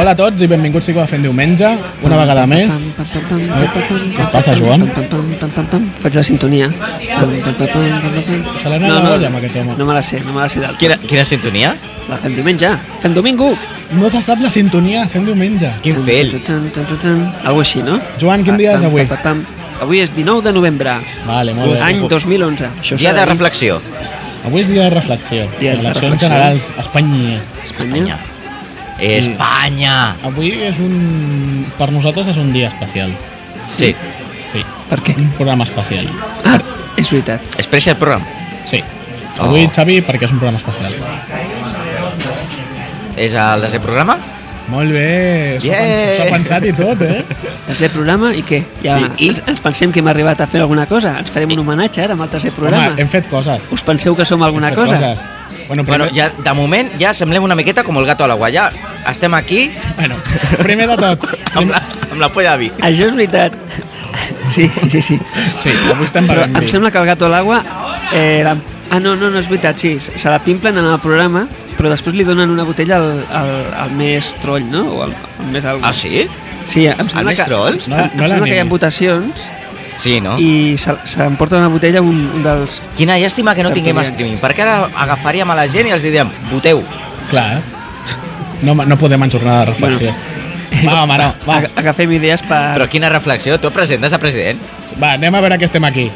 Hola a tots i benvinguts a Fent Diumenge, una Mm. vegada més. Què passa, Joan? Faig la sintonia. Se l'ha anat la olla amb aquest home. no me la sé, no me la sé del Quina, quina sintonia? La fem diumenge, fem domingo. No se sap la sintonia de Fent Diumenge. Quin fail. Tan, tan, tan, tan. Algo així, no? Joan, quin dia és avui? Pam, pam, pam. Avui és 19 de novembre, Vale, molt bé. any 2011. Això Dia s'ha de dir. reflexió. Avui és dia de reflexió. Dia de Eleccions reflexió. generals, a Espanya. Espanya. Mm. Espanya. Avui és un... Per nosaltres és un dia especial. Sí. Sí, Per què? un programa especial. Ah, és veritat. És pressa el programa. Sí. Avui, Oh. Xavi, perquè és un programa especial. És el desè programa? Molt bé, s'ho Yeah. yeah. pensat, pensat i tot, eh? Tercer programa i què? Ja I- i- ens, ens pensem que hem arribat a fer alguna cosa. Ens farem un homenatge ara amb el tercer programa. Home, hem fet coses. Us penseu que som alguna Hem fet cosa? coses. Bueno, primer, Bueno, ja, de moment ja semblem una miqueta com el gato a la guaya. Estem aquí bueno, primer de tot... amb la, amb la polla de vi. Això és veritat. Sí, sí, sí. Sí, avui estem Però parlant em sembla que el gato a l'aigua... Eh, la... Ah, no, no, no és veritat, sí. Se la pimplen en el programa, però després li donen una botella al, al, al més troll, no? O al, al més algo. Ah, sí? Sí, em sembla més que, troll? Em, No em, la- no sembla que hi ha l'animis. votacions Sí, no? I... i se- s'emporta una botella un, un dels... Quina llàstima que no tinguem Tertulians. streaming, perquè ara agafaríem a la gent i els diríem, voteu. Clar, no, no podem enjornar la reflexió. Bueno. Va, home, no. Va, Aga- Agafem idees per... Però quina reflexió, tu et presentes a president? va, anem a veure que estem aquí.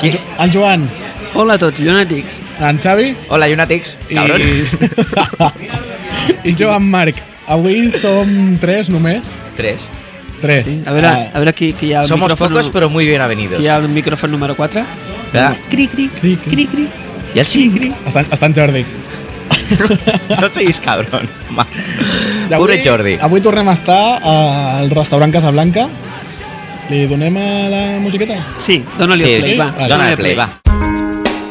Qui? En Joan, Hola a tots, llunàtics. en Xavi Hola, llunàtics. i... Cabrón. I jo, en Marc. Avui som tres només. Tres. Tres. Sí? A veure, Ah, a veure qui, qui hi ha el Somos micròfon... pocos, però muy bien avenidos. Qui hi ha el micròfon número 4? Ja. Cri, cri, Cri, cri, cri. cri, cri. I el sí, gri. Està, està en Jordi. No siguis cabrón. home. I avui- Pobre Jordi. Avui tornem a estar al restaurant Casablanca. Li donem a la musiqueta? Sí, dona-li el play, va. Vale. Dona Dona-li el play, va.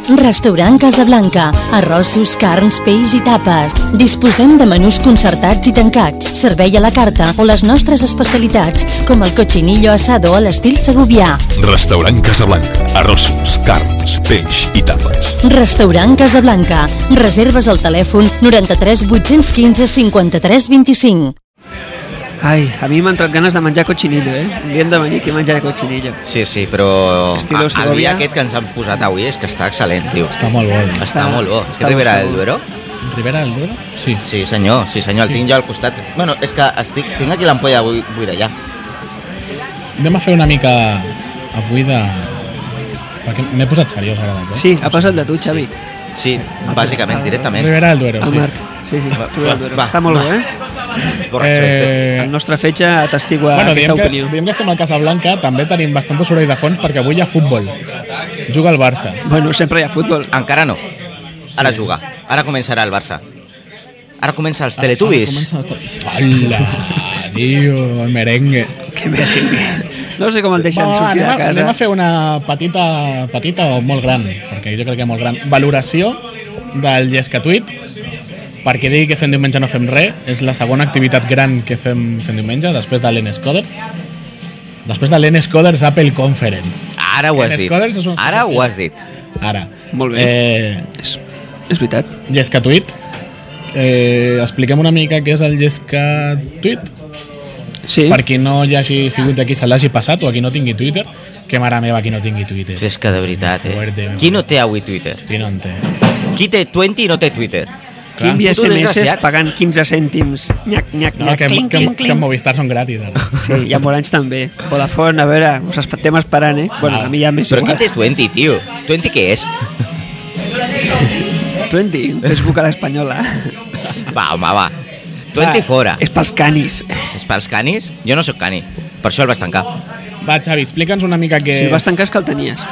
Restaurant Casablanca. Arrossos, carns, peix i tapes. Disposem de menús concertats i tancats, servei a la carta o les nostres especialitats, com el cochinillo asado a l'estil segubià. Restaurant Casablanca. Arrossos, carns, peix i tapes. Restaurant Casablanca. Reserves al telèfon 93 815 53 25. Ai, a mi m'han entrat ganes de menjar cochinillo, eh? Un dia hem de venir aquí a menjar cochinillo. Sí, sí, però Estilo a- el vi Segovia. aquest que ens han posat avui és que està excel·lent, tio. Està, Està molt bo. està molt bo. està Està Ribera molt del bo. Duero? Ribera del Duero? Sí. Sí, senyor, sí, senyor, el tinc jo al costat. Bueno, és que estic, tinc aquí l'ampolla bui- buida ja. Anem a fer una mica avui de... Perquè m'he posat seriós ara eh? de cop. Sí, ha passat de tu, Xavi. Ah, Sí, bàsicament, directament. Ribera del Duero, El sí. Marc. Sí, sí, Va, Ribera del Duero. va, Està molt va. bo, eh? Borratxo, este. El nostre fetge atestigua bueno, aquesta diem que, opinió. diem que estem al Casablanca, també tenim bastant soroll de fons perquè avui hi ha futbol. Juga el Barça. Bueno, sempre hi ha futbol. Encara no. Ara juga. Ara començarà el Barça. Ara comença els Teletubbies. Hola, tio, el merengue. Que bé. No sé com el deixen Va, anem, sortir de a, anem a casa. fer una petita, petita o molt gran, perquè jo crec que molt gran, valoració del Llescatuit, perquè dir que fem diumenge no fem res, és la segona activitat gran que fem, fem diumenge, després de l'Enes Coders. Després de l'Enes Coders Apple Conference. Ara ho has Els dit. Coders és una Ara ho sensació. has dit. Ara. Molt bé. Eh, És, és veritat. Llesca Tuit. Eh, expliquem una mica què és el Llesca Tuit. Sí. Per qui no hi hagi sigut aquí, se l'hagi passat, o a qui no tingui Twitter, que mare meva qui no tingui Twitter. És que de veritat, Fuerte, eh? mi Qui mare. no té avui Twitter? Qui no en té? Qui té 20 i no té Twitter? Qui clar. envia Puto SMS desgraciat. pagant 15 cèntims? Nyac, nyac, No, nyac, que, clinc, que, clinc, que en clinc. Movistar són gratis. Ara. Sí, hi ha Moranys també. Vodafone, a veure, us estem esperant, eh? Bueno, Vale. a mi ja m'és Però qui igual. té 20, tio? 20 què és? 20, Facebook a l'espanyola. Va, home, va. 20 Va. fora. És pels canis. És pels canis? Jo no sóc cani. Per això el vaig tancar. Va, Xavi, explica'ns una mica què Si és. vas tancar és que el tenies.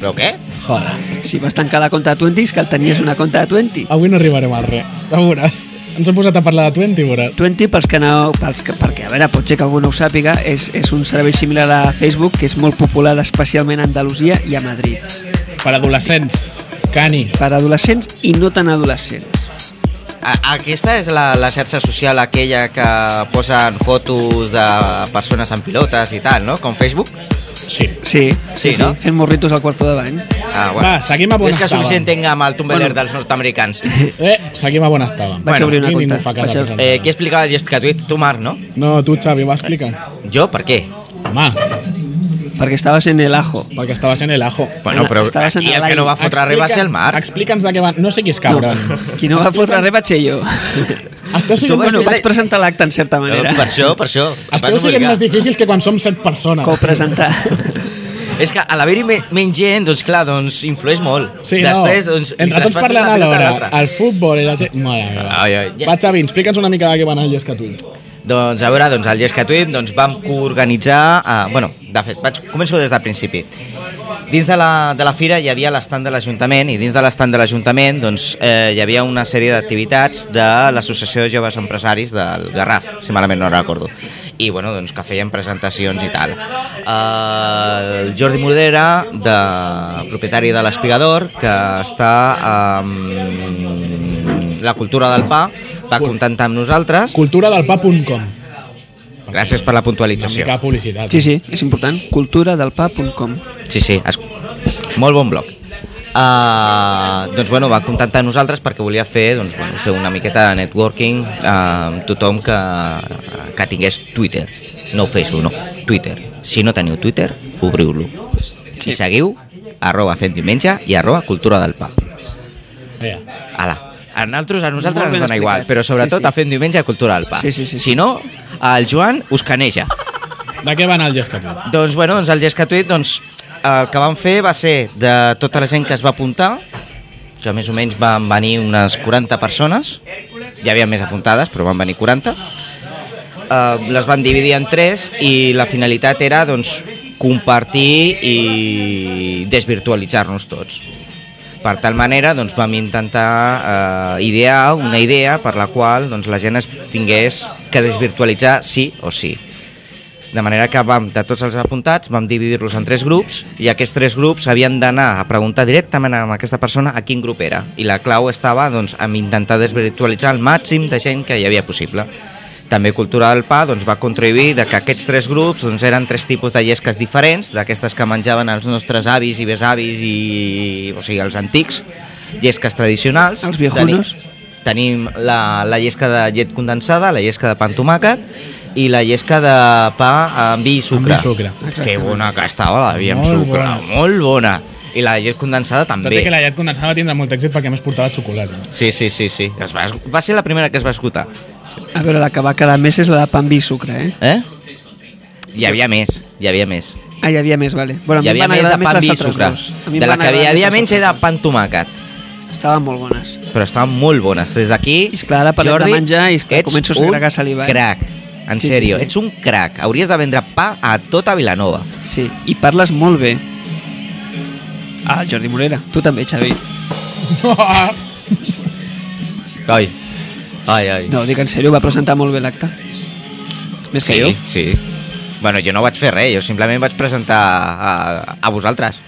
Però què? Joder, Si vas tancar la compta de 20 és que el tenies una compta de 20. avui no arribarem al res. Ja ho veuràs. Ens hem posat a parlar de 20, veuràs. 20, pels que no, pels que, perquè, a veure, potser que algú no ho sàpiga, és, és un servei similar a Facebook que és molt popular especialment a Andalusia i a Madrid. Per adolescents. Cani. Per adolescents i no tan adolescents. A- Aquesta és la, la xarxa social aquella que posen fotos de persones amb pilotes i tal, no? Com Facebook? Sí. Sí, Sí, sí, sí, no? fent morritos al quarto de bany. Ah, Va, seguim a bona És que estava. suficient tinc amb el tumbeler Bueno. dels nord-americans. Eh, seguim a bona estava. Vaig obrir una aquí cuita. ningú fa cas Vaig de obrir- res. Eh, qui explicava el gest que tu ets? Tu, Marc, no? No, tu, Xavi, va explicar. Jo, per què? Home, Perquè estaves en el ajo. perquè estava sent el ajo. Bueno, però Estaves en aquí és l'aire. que no va fotre res va ser el Marc. Explica'ns de què van... No sé qui és cabron. Qui no va fotre res va ser jo. Esteu Tu siguent, vas bueno, Bueno, fer vas... vaig presentar l'acte en certa No, manera. per això, per això. Em van Esteu siguent obligar. més difícils que quan som set persones. Copresentar. És que a l'haver-hi me- menys gent, doncs clar, doncs influeix molt. Sí, Després, no. doncs, Entre tots traspasses parlant la a pilota l'hora. l'altre. El futbol i la gent... Mare meva. Ai, ai. Va, Xavi, explica'ns una mica de què van el Llescatuit. Doncs a veure, doncs, el Yes que Twim doncs, vam coorganitzar... Eh, bueno, de fet, vaig, començo des del principi. Dins de la, de la fira hi havia l'estand de l'Ajuntament i dins de l'estand de l'Ajuntament doncs, eh, hi havia una sèrie d'activitats de l'Associació de Joves Empresaris del Garraf, si malament no recordo. I bueno, doncs, que feien presentacions i tal. Eh, el Jordi Mordera, de, propietari de l'Espigador, que està amb la cultura del pa, va contactar amb nosaltres Culturadelpa.com Gràcies per la Una puntualització. mica de publicitat. Sí, sí, és important. Culturadelpa.com Sí, sí, es... molt bon bloc. Uh, doncs bueno, va contactar a nosaltres perquè volia fer, doncs, bueno, fer una miqueta de networking eh, amb tothom que, que tingués Twitter no Facebook, no, Twitter si no teniu Twitter, obriu-lo sí. i seguiu arroba fent diumenge i arroba cultura del pa Vinga. Ala. A nosaltres, a nosaltres Molt ben ens dona explicat. igual, però sobretot Sí, sí. a fent diumenge a cultura del pa. Sí, sí, sí, Si sí. no, el Joan us caneja. De què van el Llescatuit? Doncs, bueno, doncs el Yes Catuit, doncs, el que vam fer va ser de tota la gent que es va apuntar, que més o menys van venir unes 40 persones, hi havia més apuntades, però van venir 40, eh, les van dividir en tres i la finalitat era doncs, compartir i desvirtualitzar-nos tots. Per tal manera doncs, vam intentar eh, idear una idea per la qual doncs, la gent es tingués que desvirtualitzar sí o sí. De manera que vam, de tots els apuntats, vam dividir-los en tres grups i aquests tres grups havien d'anar a preguntar directament a aquesta persona a quin grup era. I la clau estava doncs, en intentar desvirtualitzar el màxim de gent que hi havia possible. També Cultura del Pa doncs, va contribuir de que aquests tres grups doncs, eren tres tipus de llesques diferents, d'aquestes que menjaven els nostres avis i besavis i o sigui, els antics, llesques tradicionals. Els viejunos. Teni- Tenim la, la llesca de llet condensada, la llesca de pa amb tomàquet i la llesca de pa amb vi i Amb sucre. vi i sucre. Que bona que estava la vi amb Molt sucre, bona. molt bona. I la llet condensada Tot també. i que la llet condensada va tindre molt èxit perquè a més portava xocolata. Sí, sí, sí, sí. Es va, es- va ser la primera que es va esgotar. A veure, la que va quedar més és la de pa amb vi i sucre, eh? Eh? Hi havia més, hi havia més. Ah, hi havia més, vale. Bueno, a mi em hi havia van més de agradar pa amb les vi i altres sucre. dues. A mi em De la van que hi agradar més havia les menys era altres pa amb tomàquet, dues. Estaven molt bones. però estaven molt bones. Des d'aquí, És clar, ara parlem de Jordi, menjar i és clar, ets començo a un segregar saliva, eh? crac. En Sí, sí, sèrio, sí. ets un crac. Hauries de vendre pa a tota Vilanova. Sí, i parles molt bé. Ah, el Jordi Morera. Tu també, Xavi. Ai, ai, ai. No, dic en sèrio, va presentar molt bé l'acte. Més Sí, que jo. sí. Bueno, jo no vaig fer res, jo simplement vaig presentar a, a vosaltres.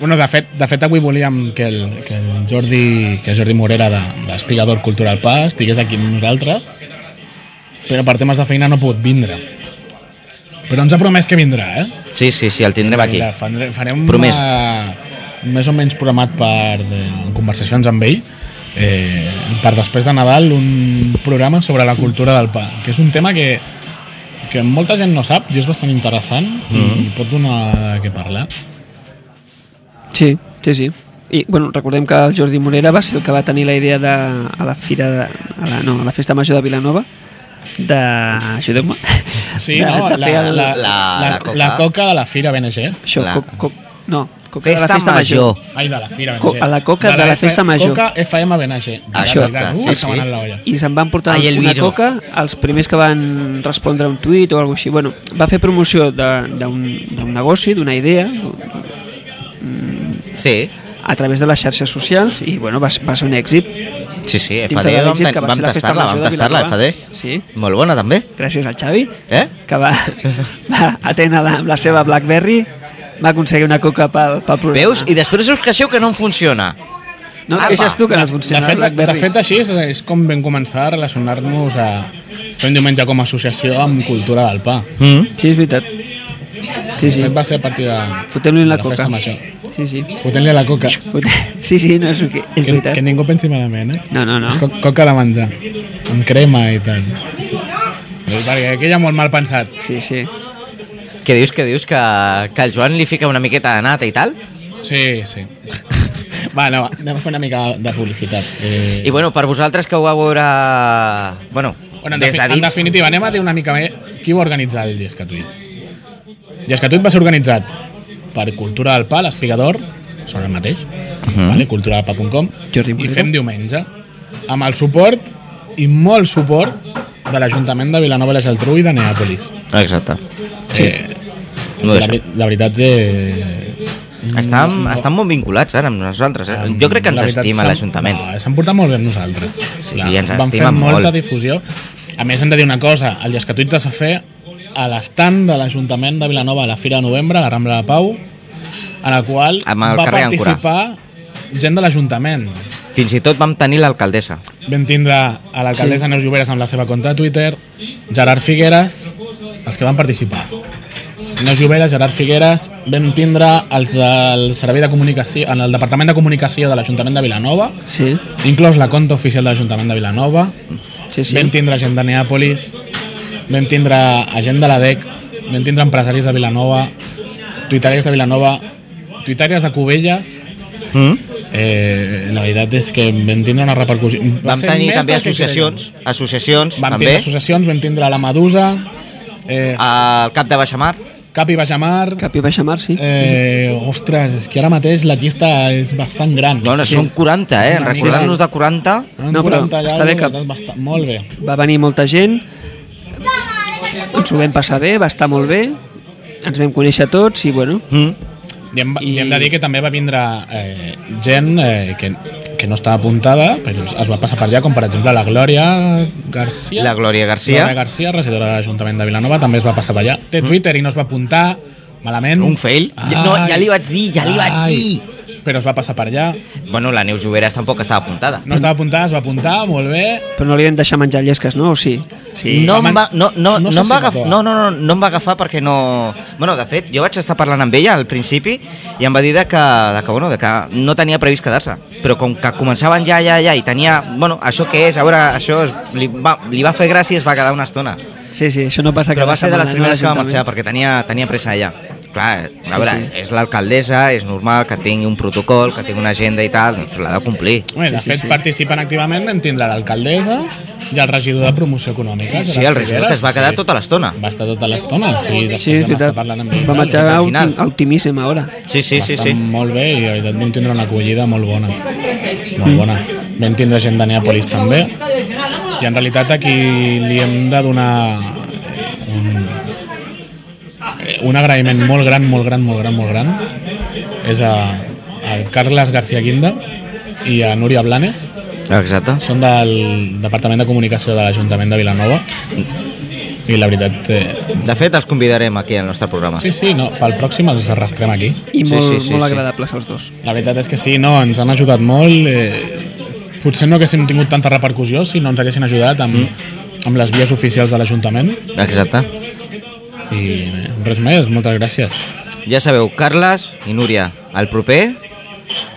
Bueno, de fet, de fet avui volíem que el, que el Jordi, que Jordi Morera de, de l'Espigador Cultural Pa estigués aquí amb nosaltres, però per temes de feina no ha pogut vindre. Però ens ha promès que vindrà, eh? Sí, sí, sí, el tindrem aquí. Vindrà, fandre- farem Promès. una- més o menys programat per de, conversacions amb ell, eh, per després de Nadal un programa sobre la cultura del pa, que és un tema que que molta gent no sap i és bastant interessant i pot donar de què parlar. Sí, sí, sí. I, bueno, recordem que el Jordi Morera va ser el que va tenir la idea de, a la fira de, a la, no, a la festa major de Vilanova de... Ajudeu-me. Sí, de, no, de la, fer la, el, la, la- la, la coca. coca. de la Fira BNG. Això, la- cop, cop, no, coca de la festa major. Ai, de la Fira BNG. Co- a la coca de la F- festa major. Coca FM BNG. Això, Veritat, sí, uh, se m'ha sí. anat la olla. I se'n van portar Ai, el una Viro. coca els primers que van respondre a un tuit o alguna així. Bueno, va fer promoció de- d'un d'un negoci, d'una idea, Sí, a través de les xarxes socials i bueno, va, ser- va ser un èxit. sí, sí, Dintre FD, de vam, l'èxit tota que va vam ser la festa tastar-la, vam major de tastar-la, Vilanova. FD. Sí. Molt bona, també. Gràcies al Xavi, Eh? que va, va atendre la, amb la seva Blackberry, va aconseguir una coca pel, pel programa. Veus? I després us queixeu que no em funciona. No et Apa. queixes tu que no et De funciona fet, la de Blackberry. fet, així és, és com vam començar a relacionar-nos a fer un diumenge com a associació amb cultura del pa. Mm. Sí, és veritat. Sí, sí. De fet, va ser a partir de, Fotem-li la de coca. festa major. Sí, sí. Fotem-li a la coca. Fotem- Sí, sí, no, és, que és Que, veritat. que ningú pensi malament, eh? No, no, no. Co coca de menjar, amb crema i tal. Perquè aquella molt mal pensat. Sí, sí. Què dius, que dius? Que, que el Joan li fica una miqueta de nata i tal? Sí, sí. Va, no, va, anem a fer una mica de publicitat. Eh, I bueno, per vosaltres que ho vau veure... Bueno, bueno, en, des defi de en dins... definitiva, anem a dir una mica més qui va organitzar el Llescatuit. Llescatuit va ser organitzat per Cultura del Pa, l'Espigador, són el mateix, uh Mhm. -huh. vale? culturadelpa.com, Jordi i Moreno. fem diumenge, amb el suport i molt suport de l'Ajuntament de Vilanova i la Geltrú i de Neàpolis. Exacte. Sí. Eh, la, No deixa. veri- la veritat eh, Mm. Estan, estan molt vinculats ara amb nosaltres. Eh? Jo crec que ens La veritat, estima s'han- l'Ajuntament. No, s'han portat molt bé amb nosaltres. Sí, ens van fer estimen molta molt. difusió. A més, hem de dir una cosa, el Llescatuit es va fer a l'estand de l'Ajuntament de Vilanova a la Fira de Novembre, a la Rambla de Pau, en la qual Amb el va carrer Àncora. participar gent de l'Ajuntament. Fins i tot vam tenir l'alcaldessa. Vam tindre a l'alcaldessa sí. Neus Lloberes amb la seva compte de Twitter, Gerard Figueres, els que van participar. Neus Lloberes, Gerard Figueres, vam tindre els del Servei de Comunicació, en el Departament de Comunicació de l'Ajuntament de Vilanova, Sí, Inclòs la conta oficial de l'Ajuntament de Vilanova, sí, sí. sí. vam tindre gent de Neàpolis, vam tindre gent de l'ADEC, vam tindre empresaris de Vilanova, tuitaris de Vilanova, tuitàries de Cubelles, Mm? eh, la veritat és que vam tindre una repercussió. Va Vam ser tenir més també del que associacions, associacions creiem. Vam també, tindre associacions, vam tindre la Medusa, eh, ah. al cap de Baixamar. Cap i Bajamar, Cap i baixa mar, sí. eh, ostres, és que ara mateix la llista és bastant gran. No, no, són 40, Una eh? mica. Recordant-nos de 40. Eren No, però 40 i està bé alguna que- cosa, bastant- Molt bé. Va venir molta gent, ens ho vam passar bé, va estar molt bé, ens vam conèixer tots i, bueno, Mm? I hem, I... I- hem de dir que també va vindre eh, gent eh, que, que no estava apuntada, però es va passar per allà, com per exemple la Glòria Garcia. La Glòria Garcia. Mm. Glòria Garcia, regidora de l'Ajuntament de Vilanova, també es va passar per allà. Té Twitter i no es va apuntar, malament. Un fail. Ja- no, ja li vaig dir, ja li vaig dir. Però es va passar per allà. Bueno, la Neus Lloberes tampoc estava apuntada. No estava apuntada, es va apuntar, molt bé. però no li vam deixar menjar llesques, no? O sí? sí. No, va em va, no, no no, no, sé no, em va si va agafar, acabar. no, no, no, no em va agafar perquè no... Bueno, de fet, jo vaig estar parlant amb ella al principi i em va dir de que, de que, bueno, de que no tenia previst quedar-se. Però com que començaven ja, ja, ja, i tenia... Bueno, això què és? A veure, això és, li, va, li va fer gràcia i es va quedar una estona. Sí, sí, això no passa Però cada va ser de setmana, les no, primeres que va l'Ajuntament. marxar perquè tenia, tenia pressa allà. Clar, Sí, a veure, sí. és l'alcaldessa, és normal que tingui un protocol, que tingui una agenda i tal, doncs l'ha de complir. Bé, de Sí, sí, fet, sí. participen activament, vam tindre l'alcaldessa i el regidor de promoció econòmica. Sí, Gerard el regidor Figueras, que es va o quedar sigui, tota l'estona. Va estar tota l'estona, sí, després Sí, és vam estar veritat. parlant amb ell. Va marxar fins al a final. ultimíssim a hora. Sí, sí, sí, sí. Bastant Molt bé i la veritat vam tindre una acollida molt bona. Molt bona. Vam tindre gent de Neàpolis també. I en realitat aquí li hem de donar un, eh, un agraïment molt gran, molt gran, molt gran, molt gran. És a, a Carles García Guinda i a Núria Blanes. Exacte. Són del Departament de Comunicació de l'Ajuntament de Vilanova. I la veritat... Eh, De fet, els convidarem aquí al nostre programa. sí, sí, no, pel pròxim els arrastrem aquí. I Sí, molt, sí, sí, molt sí. agradables els dos. La veritat és que sí, no, ens han ajudat molt. Eh, potser no haguéssim tingut tanta repercussió si no ens haguessin ajudat amb, amb les vies oficials de l'Ajuntament. Exacte. I eh, res més, moltes gràcies. Ja sabeu, Carles i Núria, el proper,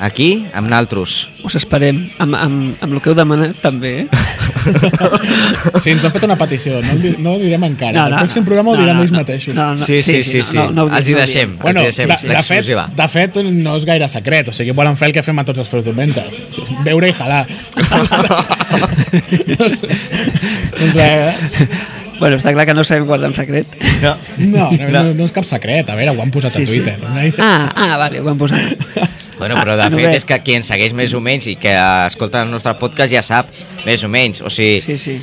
aquí, amb naltros. Us esperem amb, amb, amb el que heu demanat també, eh? Sí, ens han fet una petició, no, ho di- no ho direm encara. No, no, el pròxim programa ho diran ells mateixos. No, no, No, no, ho diré, Els hi no ho diré. deixem, Bueno, els hi de, deixem de, fet, l'exclusiva. de fet, no és gaire secret, o sigui, volen fer el que fem a tots els fes diumenges. Veure i jalar. Entre- Bueno, està clar que no sabem guardar un secret. No. no, no, no, no és cap secret, a veure, ho han posat a Twitter. Ah, ah, vale, ho vam posar. Bueno, però de Ah, no, fet bé. és que qui ens segueix més o menys i que escolta el nostre podcast ja sap, més o menys. O sigui, Sí, sí.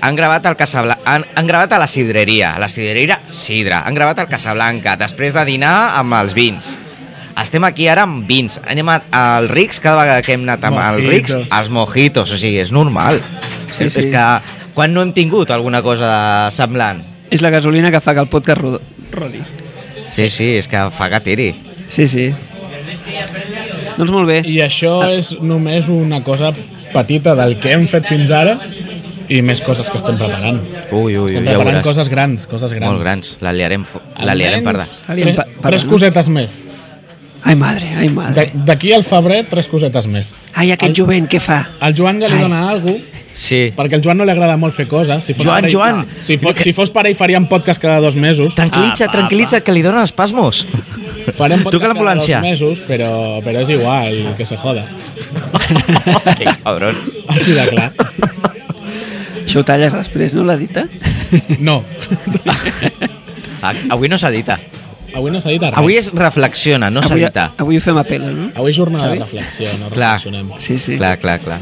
han gravat al Casablanca, han, han gravat a la sidreria, a la sidreria Sidra, han gravat al Casablanca, després de dinar amb els vins. Estem aquí ara amb vins. Anem a- al Rix, cada vegada que hem anat amb el Mojitos. Rix, els mojitos, o sigui, és normal. Sí, és, sí. és que quan no hem tingut alguna cosa semblant? És la gasolina que fa que el podcast rodó. rodi. Sí, sí, és que fa que tiri. Sí, sí. Doncs molt bé. I això és només una cosa petita del que hem fet fins ara i més coses que estem preparant. Ui, ui, Estem ui, ja preparant veuràs. coses grans, coses grans. Molt grans. La liarem, fo- la liarem per Almenys dalt. Alien tre- pa- parda, Tres no? cosetes més. Ai, madre, ai, madre. De- D'aquí al febrer, tres cosetes més. Ai, aquest jovent, què fa? Al Joan ja li Ai. dona alguna cosa, Sí. perquè al Joan no li agrada molt fer coses. Si fos Joan, pare, Joan! Si fos, si fos pare, hi faríem podcast cada dos mesos. Ah, Tranquil·litza, tranquil·litza, que li donen espasmos. Farem podcast Truca a l'ambulància. cada dos mesos, però, però és igual, que se joda. que cabron. Així de clar. Això ho talles després, no, la dita? No, Ah, Avui no s'ha dita. avui no s'ha dit res. Avui és reflexiona, no s'ha avui, dita. avui ho fem a pelo, no? avui és jornada Xavi? de reflexió, no Clar. reflexionem. Sí, sí. Clar, clar, clar.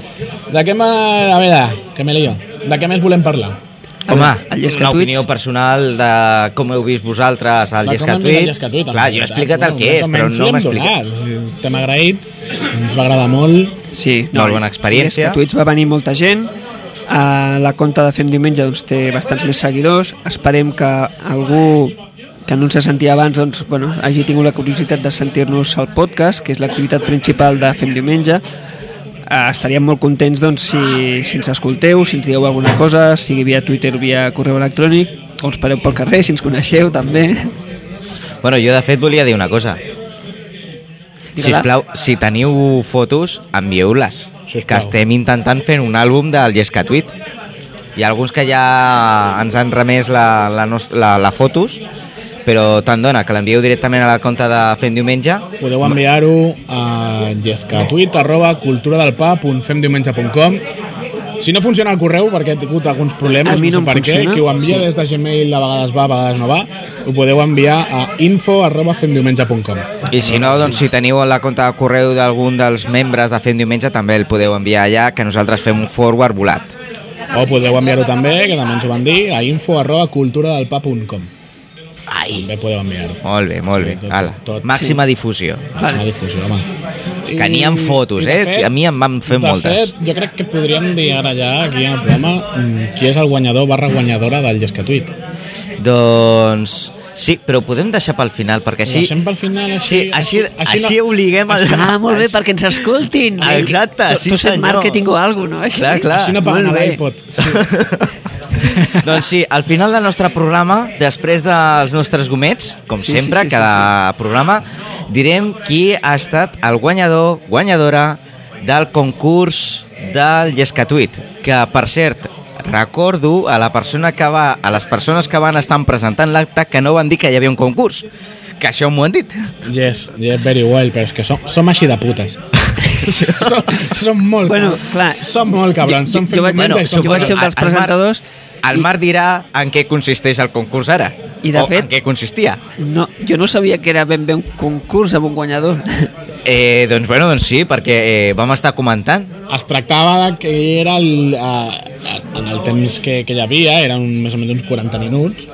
De què ma... A veure, que me lio. De què més volem parlar? A Home, veure, el una Llescatuits- opinió personal de com heu vist vosaltres al De com hem vist el Llescatuit, Llescatuit. en Clar, jo he realitat. explicat el Bueno, que més és, o però menys no l'hem m'ha explicat. donat. Estem agraïts, ens va agradar molt. Sí, Molt bona experiència. i és que A Twitch va venir molta gent, a la compta de Fem Diumenge doncs, té bastants més seguidors, esperem que algú que no ens sentia abans doncs, bueno, hagi tingut la curiositat de sentir-nos al podcast, que és l'activitat principal de Fem Diumenge. Eh, estaríem molt contents doncs, si, si ens escolteu, si ens dieu alguna cosa, sigui via Twitter o via correu electrònic, o ens pareu pel carrer, si ens coneixeu també. Bueno, jo de fet volia dir una cosa. Si plau, si teniu fotos, envieu-les. Sisplau. Que estem intentant fer un àlbum del Llescatuit. Hi ha alguns que ja ens han remès la, la, nos- la, la fotos, però tant dona que l'envieu directament a la compte de Fent Diumenge. Podeu enviar-ho a llescatuit arroba culturadelpa.femdiumenge.com Si no funciona el correu, perquè he tingut alguns problemes, A mi sé no em per què, funciona. qui ho envia Sí. des de Gmail a vegades va, a vegades no va, ho podeu enviar a info arroba femdiumenge.com I si no, doncs si teniu la compte de correu d'algun dels membres de Fent Diumenge, també el podeu enviar allà, que nosaltres fem un forward volat. O podeu enviar-ho també, que també ens ho van dir, a info arroba culturadelpa.com Ai. També podeu enviar-ho. Molt bé, molt bé. Sí, tot- Ala. tot- Màxima difusió. Vale. Una difusió, home. Que n'hi ha fotos, i de eh? A mi em van fer de moltes. Fet, jo crec que podríem dir ara ja, aquí en el programa, mm, qui és el guanyador barra guanyadora del Llescatuit. Doncs sí, però ho podem deixar pel final, perquè així... deixem pel final, així- sí, així, així- així, així no- obliguem... el- Ah, molt bé, perquè ens escoltin. Ah, exacte, Tu- sí, tu sent senyor. màrqueting o alguna cosa, no? Clar, clar. Així no Molt paguen bé. l'iPod. Sí. doncs sí, al final del nostre programa, després dels nostres gomets, com Sí, sí, sí, sempre, sí, sí, sí, sí, cada sí, programa, direm qui ha estat el guanyador, guanyadora del concurs del Llescatuit, que, per cert, recordo a la persona que va, a les persones que van estar presentant l'acte que no van dir que hi havia un concurs, que això m'ho han dit. Yes, yes, very well, però és que som, som així de putes. som, som molt... Bueno, clar. Som molt cabrons, Jo- som jo- jo vaig- fent bueno, bueno, i som jo vaig ser un cabrons. dels presentadors El i- Marc dirà en què consisteix el concurs ara. I, de o fet- en què consistia. No, jo no sabia que era ben bé un concurs amb un guanyador. Eh, doncs, bueno, doncs sí, perquè eh, vam estar comentant Es tractava de que era el, a, a, en el temps que, que hi havia, eren un, més o menys uns 40 minuts,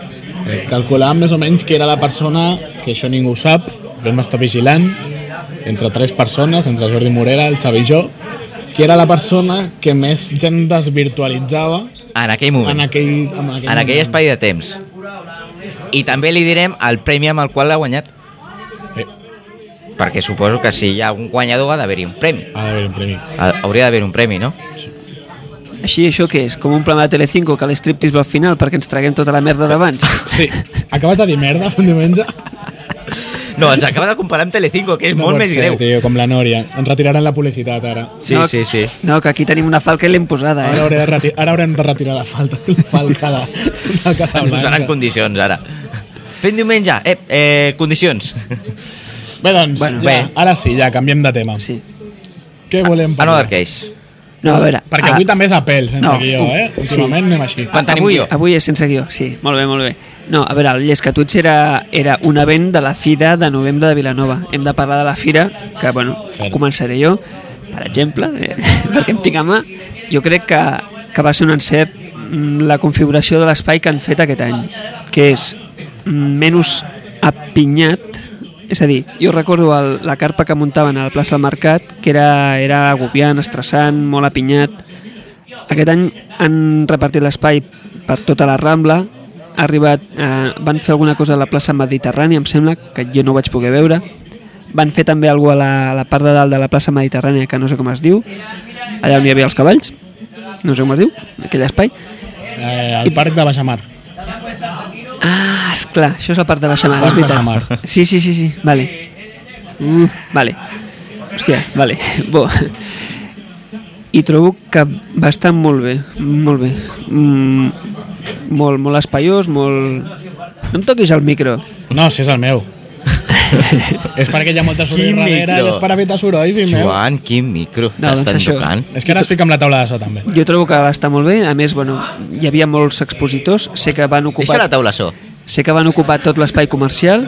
eh, calculàvem més o menys que era la persona, que això ningú ho sap, vam estar vigilant, entre tres persones, entre Jordi Morera, el Xavi i jo, que era la persona que més gent desvirtualitzava en aquell moment, en aquell, en aquell, en aquell moment. espai de temps. I també li direm el premi amb el qual l'ha guanyat, Eh, perquè suposo que si hi ha un guanyador ha d'haver-hi un premi. ha d'haver un premi. Ha- Hauria d'haver un premi, no? Així, això què és? Com un programa de Telecinco que l'estriptease va al final perquè ens traguem tota la merda d'abans? Sí, acabes de dir merda un diumenge? No, ens acaba de comparar amb Telecinco, que és No molt pot més ser, greu. Tio, com la Nòria. Ens retiraran la publicitat ara. Sí, No, sí, sí. No, que aquí tenim una falca i l'hem posada, Ara, eh? hauré de reti- ara haurem de retirar la falta, la falca de, del Ens posaran Casablanca. condicions, ara. Fent diumenge, eh, eh, condicions. Bé, doncs, bueno, Bueno, ja, bé. ara sí, ja, canviem de tema. Sí. Què volem Ah, no, parlar? d'arqueix. No, a veure... Perquè avui ah, també és a pèl, sense No, no, guió, eh? sí. Últimament anem així. Quan tenim avui, guió. Avui és sense guió, sí. Molt bé, molt bé. No, a veure, el Llescatuts era, era un event de la Fira de novembre de Vilanova. Hem de parlar de la Fira, que, bueno, Cert. començaré jo, per exemple, eh, perquè em tinc a mà. Jo crec que, que va ser un encert mm, la configuració de l'espai que han fet aquest any, que és mm, menys apinyat, és a dir, jo recordo el, la carpa que muntaven a la plaça del Mercat, que era, era agobiant, estressant, molt apinyat, aquest any han repartit l'espai per tota la Rambla, ha arribat, eh, van fer alguna cosa a la plaça Mediterrània, em sembla, que jo no ho vaig poder veure. Van fer també alguna cosa a la, a la part de dalt de la plaça Mediterrània, que no sé com es diu, allà on hi havia els cavalls. no sé com es diu, aquell espai. Eh, al parc de Baixamar. Ah, esclar, això és la part de Baixa Mar, Part és de veritat. Baixa Mar. Sí, sí, sí, sí, vale. Mm, vale. Hòstia, vale. Bo. I trobo que va estar molt bé, molt bé. Mm, molt, molt espaiós, molt... No em toquis el micro. No, si és el meu. és perquè hi ha molta soroll Quin darrere micro? i és per evitar soroll, fill meu. Joan, quin micro No, doncs t'estan això. tocant. És que ara es fica amb la taula de so, també. Jo trobo que va estar molt bé, a més, bueno, hi havia molts expositors, sé que van Deixa ocupar, la taula això. sé que van ocupar tot l'espai comercial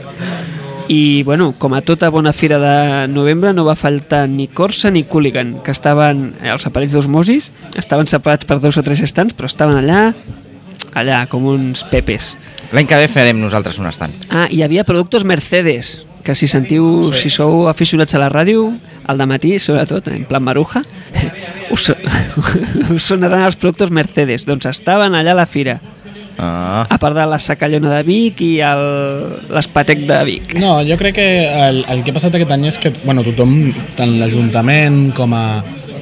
i, bueno, com a tota bona fira de novembre no va faltar ni Corsa ni Cooligan, que estaven eh, els aparells d'osmosis, estaven separats per dos o tres estants, però estaven allà, allà, com uns pepes. L'any que ve farem nosaltres un estant. Ah, hi havia productes Mercedes, que si sentiu, sí. si sou aficionats a la ràdio, al dematí, sobretot, en plan maruja, us, us sonaran els productes Mercedes. Doncs estaven allà a la fira, Ah. a part de la sacallona de Vic i el- l'espatec de Vic. No, jo crec que el, el que ha passat aquest any és que bueno, tothom, tant l'Ajuntament com a,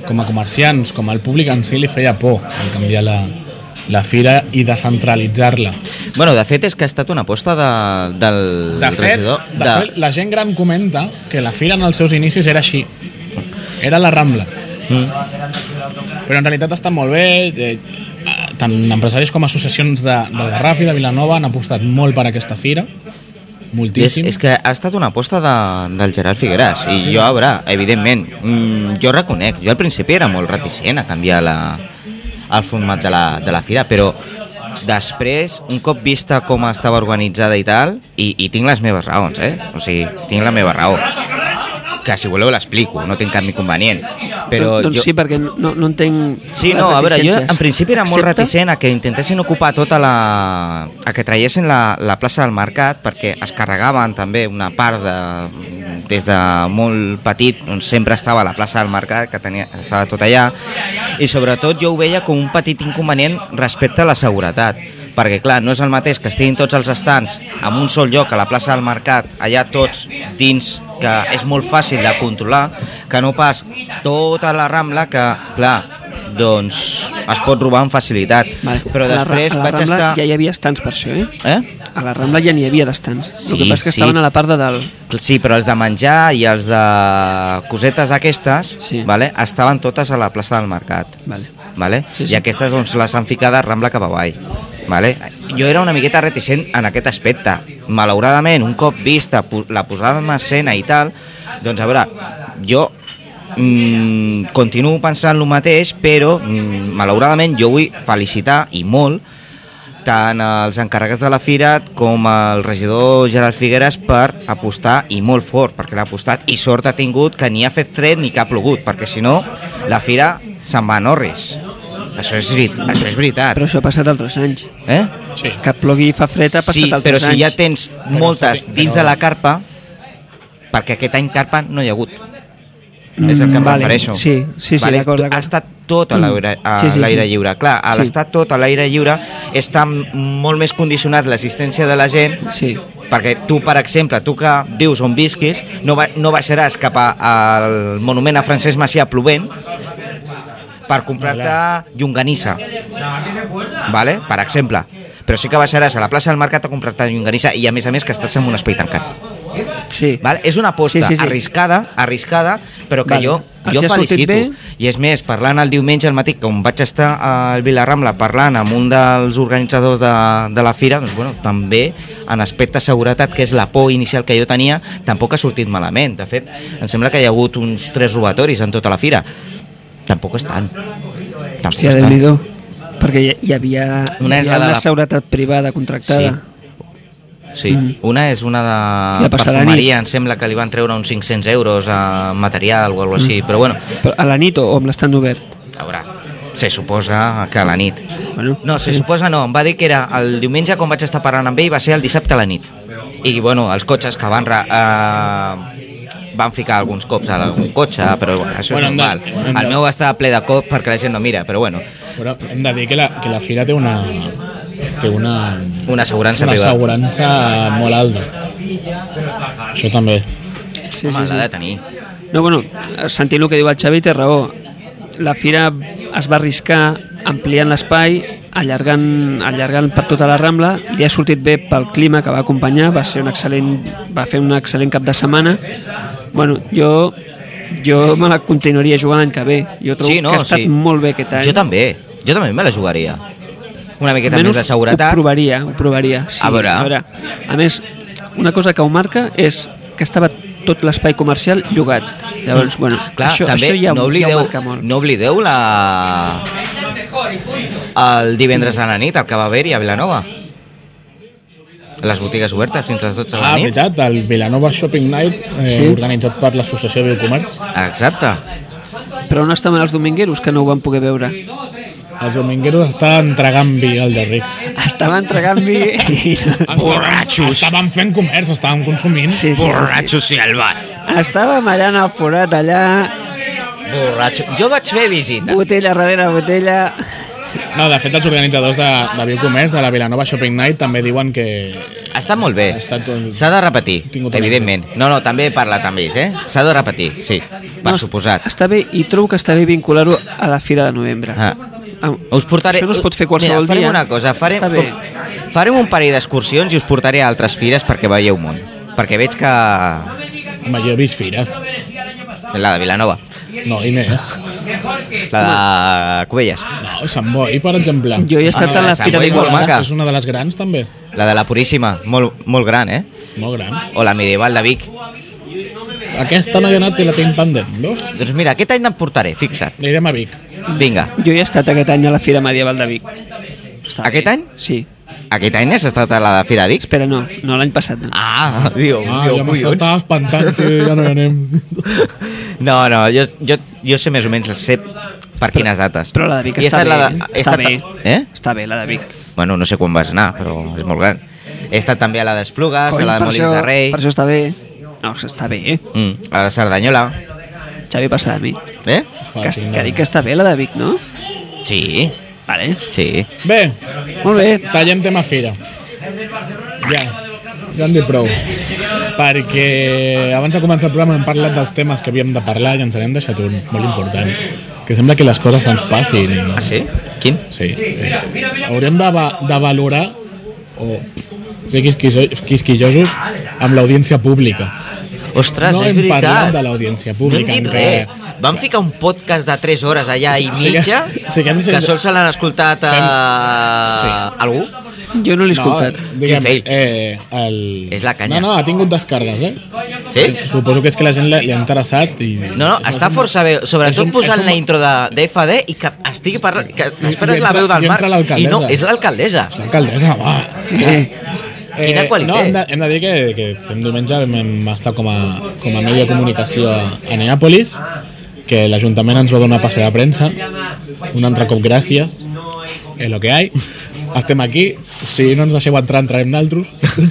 com a comerciants, com al públic en si, li feia por en canviar la, la fira i descentralitzar-la. Bueno, de fet és que ha estat una aposta de, del De fet, regidor. de fet, la gent gran comenta que la fira en els seus inicis era així. Era la Rambla. Mm. Però en realitat està molt bé, eh, eh, tant empresaris com associacions de, del Garraf i de Vilanova han apostat molt per aquesta fira, és, moltíssim. és que ha estat una aposta de, del Ah, Gerard Figueras i jo haurà, evidentment mm, jo reconec, jo al principi era molt reticent a canviar la, el format de la, de la fira, però després, un cop vista com estava organitzada i tal, i, i tinc les meves raons, eh? O sigui, tinc la meva raó que si voleu l'explico, no tinc cap inconvenient però Don- doncs jo, sí, perquè no, no entenc Sí, les no, a veure, jo reticències. en principi era molt Excepte- reticent a que intentessin ocupar tota la... a que traiessin la, la plaça del mercat perquè es carregaven també una part de... des de molt petit on sempre estava la plaça del mercat que tenia, estava tot allà i sobretot jo ho veia com un petit inconvenient respecte a la seguretat perquè clar, no és el mateix que estiguin tots els estants en un sol lloc a la plaça del mercat allà tots dins que és molt fàcil de controlar que no pas tota la Rambla que clar, doncs es pot robar amb facilitat. Vale. Però A la Ra- després a la vaig Rambla estar... Ja hi havia estants per això, eh? Eh? A la Rambla ja n'hi havia d'estants. el Sí, que passa que sí. estaven a la part de dalt. Sí, però els de menjar i els de cosetes d'aquestes Sí. vale, estaven totes a la plaça del mercat. Vale. Vale? Sí, sí. I aquestes doncs, les han ficades Rambla cap avall. Vale? Jo era una miqueta reticent en aquest aspecte. Malauradament, un cop vista po- la posada en escena i tal, doncs a veure, jo mm, continuo pensant el mateix, però mm, malauradament jo vull felicitar i molt tant els encarregats de la fira com el regidor Gerard Figueres per apostar i molt fort, perquè l'ha apostat i sort ha tingut que ni ha fet fred ni que ha plogut, perquè si no la fira se'n va a Norris. Això és, veri- això és veritat. Però això ha passat altres anys. Eh? Sí. Que plogui i fa fred ha passat Sí, altres però si anys. ja tens Però moltes sabi- dins però- de la carpa, perquè aquest any carpa no hi ha hagut. És el que em Mm, vale. refereixo. Sí, sí, sí, vale? d'acord, d'acord. Ha estat tot a l'aire a Sí, sí, sí. l'aire lliure. Clar, a Sí. l'estar tot a l'aire lliure està molt més condicionat l'assistència de la gent Sí. perquè tu, per exemple, tu que vius on visquis, no, va, no baixaràs cap a, al monument a Francesc Macià plovent per comprar-te llonganissa, vale? per exemple. Però sí que baixaràs a la plaça del Mercat a comprar-te llonganissa i a més a més que estàs en un espai tancat. Sí. Vale? És una aposta Sí, sí, sí, sí. arriscada, arriscada, però que Vale. jo, Els jo hi ha sortit felicito. bé? I és més, parlant el diumenge al matí, com vaig estar al Vilarambla parlant amb un dels organitzadors de, de la fira, doncs, bueno, també en aspecte de seguretat, que és la por inicial que jo tenia, tampoc ha sortit malament. De fet, em sembla que hi ha hagut uns tres robatoris en tota la fira. Tampoc és tant. Tampoc Hòstia, és déu tant. nhi Perquè hi, hi havia Una una, és hi la ha de una la- seguretat privada contractada. Sí, Mm. una és una de Ja passarà perfumeria, em sembla que li van treure uns 500 euros a material o alguna cosa així, però bueno, Però a la nit o, o amb l'estant obert? Haurà. Se suposa que a la nit. Bueno, No, se suposa no, em va dir que era el diumenge quan vaig estar parlant amb ell, va ser el dissabte a la nit. I bueno, els cotxes que van... re- Eh, van ficar alguns cops a algun cotxe, però bueno, això Bueno, és hem de- normal. hem de- El meu està ple de cops perquè la gent no mira, però bueno, Però hem de dir que la, que la fira té una... Té una... una assegurança Una privada. assegurança molt alta. Això també. sí, Sí, sí, Home, l'ha de sí. tenir. No, bueno, sentint el que diu el Xavi té raó. La fira es va arriscar ampliant l'espai, allargant, allargant per tota la Rambla, li ha sortit bé pel clima que va acompanyar, va, ser un excel·lent, va fer un excel·lent cap de setmana. Bueno, jo, jo me la continuaria jugant l'any que ve. Jo trobo Sí, no, que ha estat sí. molt bé aquest any. Jo també, jo també me la jugaria. Una miqueta Almenys més de seguretat. Ho provaria, ho provaria. Sí, A veure. A, veure. a més, una cosa que ho marca és que estava tot l'espai comercial llogat. Llavors, bueno, Mm. Ah, Clar, això, també això ja, ho- no, ja ho oblideu, marca molt. no oblideu la... el divendres a la nit, el que va haver-hi a Vilanova. Les botigues obertes fins a les 12 de la Ah, nit. veritat, el Vilanova Shopping Night, eh, Sí. sí. organitzat per l'Associació Biocomerç. Exacte. Però on estaven els domingueros que no ho van poder veure? Els domingueros estan entregant vi al de rics. Estaven entregant vi i... Borratxos. Estàvem fent comerç, estàvem consumint. Sí, sí, sí, sí. i al bar. Estàvem allà en el forat, allà, Borratxo. Jo vaig fer visita. botella darrere botella... No, de fet, els organitzadors de, de Biocomerç, de la Vilanova Shopping Night, també diuen que... Ha estat molt bé. Ha estat un- S'ha de repetir, Tingut un evidentment. No, no, també he parlat amb ells, eh? S'ha de repetir, sí, per No, suposat. Està bé, i trobo que està bé vincular-ho a la Fira de Novembre. Ah. Am- Us portaré... Això no es pot fer qualsevol Mira, farem dia. una cosa, farem, Està bé. com- farem un parell d'excursions i us portaré a altres fires perquè veieu món. Perquè veig que... Home, jo he vist fira. La de Vilanova, No, i més. la de Cubelles, No, Sant Boi, per exemple. Jo he estat Ah, a la Sant Fira Boi, de molt maca. És una de les grans, també. la de la Puríssima, molt, molt gran, eh? Molt gran. O la medieval de Vic. Aquesta no he anat i la tinc pendent, veus? Doncs mira, aquest any em portaré, fixa't. Anirem a Vic. Vinga, Jo hi he estat aquest any a la Fira Medieval de Vic. Està Aquest bé. any? Sí. aquest any has estat a la de Fira de Vic? Espera, no, no l'any passat. No. Ah, diu, Ah, diu, jo collons. m'estava espantant, tio, ja no hi anem. No, no, jo, jo, jo sé més o menys, sé per quines dates. Però la de Vic I he està estat bé. la eh? he està estat- bé. Eh? Està bé, la de Vic. Bueno, no sé quan vas anar, però és molt gran. He estat també a la d'Esplugues, a Ah, la de per, Molins això, de Rei, per això està bé. No, està bé, eh? mm, a la Cerdanyola. Xavi passa de mi. Eh? Que, que dic que està bé la de Vic, no? Sí, Vale. sí. Bé, Molt bé. tallem tema fira. Ja, ja en dic prou. Perquè abans de començar el programa hem parlat dels temes que havíem de parlar i ens n'hem deixat un molt important. Que sembla que les coses ens passin. Ah, sí? Quin? Sí. Eh, hauríem de, va- de valorar o ser quisquiso- quisquillosos amb l'audiència pública. Ostres, No és hem parlat veritat. de l'audiència No hem pública dit encara. res. Vam ficar un podcast de 3 hores allà i Sí que- mitja, sí que hem- que sols se l'han escoltat a... Sí. algú? Jo no l'he escoltat. No, diguem, Quin fail. eh, el... És la canya. No, no, ha tingut descargues, eh? Sí? Suposo que és que la gent li li ha interessat i... No, no, està força bé, és un- sobretot és posant un- la intro de, de FD i que estigui parlant, que esperes I la entra- veu del i Marc. entra I l'alcaldessa. no, és l'alcaldesa. L'alcaldessa, va. Eh, Quina qualitat. No, hem, de, hem de dir que, que fem diumenge vam vam estar com a, com a media de comunicació a, a Neàpolis, que l'Ajuntament ens va donar passe de premsa, un altre cop gràcies, és lo que hay. Estem aquí, si no ens deixeu entrar, entrarem naltros.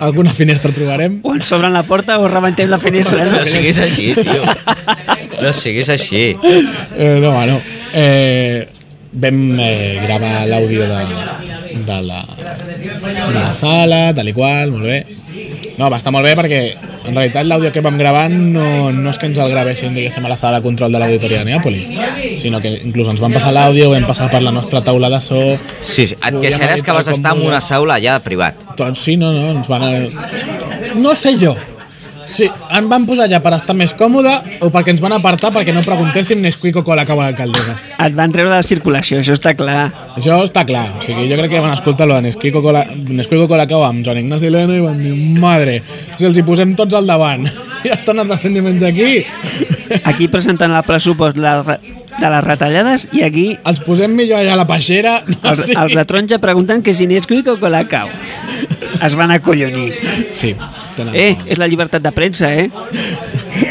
Alguna finestra trobarem. o ens s'obren la porta o rebentem la finestra. No No? siguis així, tio. No siguis així. Eh, no, bueno. Eh, vam eh, gravar l'àudio de, de, la, de la sala, tal i qual, molt bé. No, va estar molt bé perquè en realitat l'àudio que vam gravar no, no és que ens el gravessin, diguéssim, a la sala de control de l'auditoria de Neàpolis, sinó que inclús ens van passar l'àudio, vam passar per la nostra taula de so... Sí, sí, et queixaràs que vas estar en una saula allà de privat. Doncs sí, no, no, ens van... No sé jo. Sí, em van posar allà per estar més còmode o perquè ens van apartar perquè no preguntéssim Nesquik o Colacau a l'alcaldessa. Et van treure de la circulació, això està clar. Això està clar. O sigui, jo crec que van escoltar lo de Nesquico Cola, Nesquico Colacao amb Joan Ignasi Leno i van dir, madre, si els hi posem tots al davant. I estan anant fent diumenge aquí. Aquí presenten el pressupost la, re- de les retallades i aquí Els posem millor allà a la peixera. No, els, sí. els de taronja pregunten que si n'és cuica o colacau. Es van acollonir. sí tenen Eh, raó. és la llibertat de premsa, eh?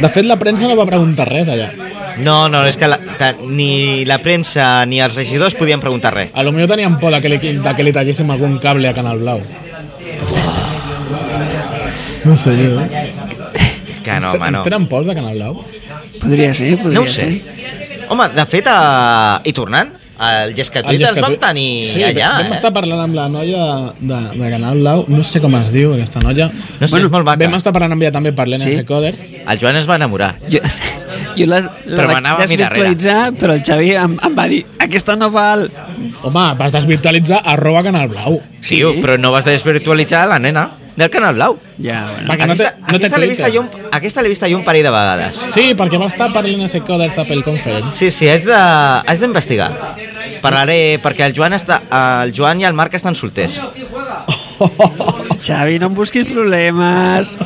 De fet, la premsa no va preguntar res allà. No, no, és que la, ta, ni la premsa ni els regidors podien preguntar res. A lo millor tenien por de que li, de que li talléssim algun cable a Canal Blau. No sé jo. eh. Que Ah, no, home, Ens no. tenen por de Canal Blau? Podria ser, podria No ho sé. ser. Home, de fet, a... i tornant, el Llescatuit El els vam Llescatui- tenir sí, allà. Vam estar Eh? parlant amb la noia de, de Canal Blau, no sé com es diu aquesta noia. No sé, és molt maca. Vam estar parlant amb ella també per l'Ena Sí? sí? Coders. El Joan es va enamorar. Jo, Jo la, la Però m'anava a vaig mi darrere. desvirtualitzar, però el Xavi em, em va dir aquesta no val. Home, vas desvirtualitzar arroba Canal Blau. Sí, però no vas desvirtualitzar la nena del Canal Blau. Ja, Va, bueno. que no té- Aquesta, no té aquesta l'he Twitter. vista jo un- aquesta l'he vista jo un parell de vegades. Sí, perquè va estar parlant a Secó dels Apple Conference. Sí, sí, has de- has d'investigar. Parlaré, perquè el Joan, està, el Joan i el Marc estan solters. Xavi, no em busquis problemes.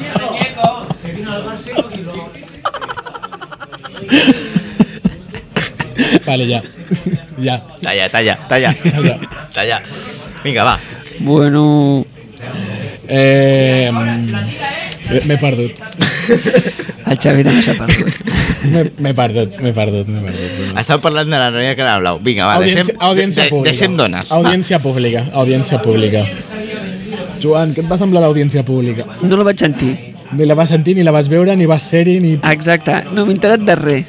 Vale, ja. ja. Talla, talla, talla. talla. Vinga, va. Bueno, Eh, mm, m'he perdut. el Xavi també s'ha perdut. M'he- M'he perdut, m'he perdut, m'he perdut. Estàvem parlant de la noia que era blau. Vinga, va, Audiència, deixem, audiència de- de, pública. deixem dones. Audiència pública, audiència pública. Joan, què et va semblar l'audiència pública? No la vaig sentir. Ah, Ni la vas sentir, ni la vas veure, ni vas ser-hi, ni... Exacte, no m'he enterat de res.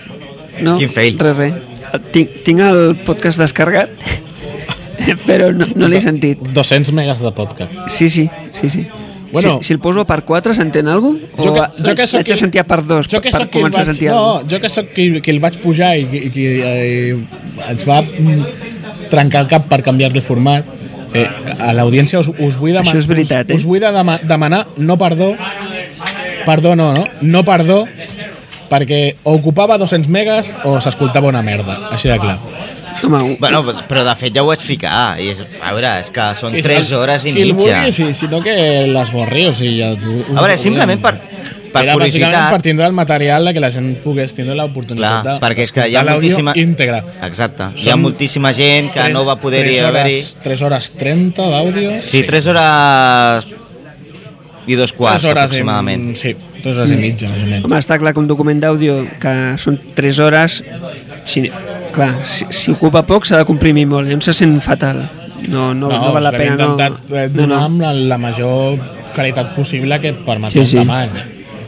No, Quin fail. Res, res. Tinc, tinc el podcast descarregat, però no, no l'he sentit. 200 megas de podcast. Sí, sí, sí, sí. Bueno. si, si el poso a part 4 s'entén alguna cosa? O l'haig sóc de qui- sentir a part 2 jo que per sóc qui el començar a vaig- sentir no, alguna cosa? jo que sóc qui, qui el vaig pujar i, i, qui, eh, ens va mm, trencar el cap per canviar-li el format eh, a l'audiència us, us vull demanar Això és veritat, eh? us, us vull de dema- demanar no perdó perdó no, no? no perdó perquè o ocupava 200 megas o s'escoltava una merda així de clar Home, Bueno, però de fet ja ho vaig ficar. I és, a veure, és que són 3 hores i Qui el mitja. vulgui, si, si no que l'esborri o sigui, ja, A veure, simplement per, per Era bàsicament per curiositat... tindre el material de que la gent pogués tindre l'oportunitat Clar, de perquè és que hi d'escoltar ha l'àudio moltíssima... íntegre. Exacte. Hi ha Són moltíssima gent que no va poder tres haver-hi... hores- tres hores 30 d'àudio. Sí, 3 hores i dos quarts, Tres hores i- aproximadament. Sí, 3 hores i mitja, més o menys. home, està clar que un document d'àudio que són 3 hores si, clar, si, si ocupa poc s'ha de comprimir molt, llavors se sent fatal no, no, no, no val la l'hem pena no, intentat eh, no, donar no. amb la, la major qualitat possible que permet Sí, sí, sí. sí. un tamany.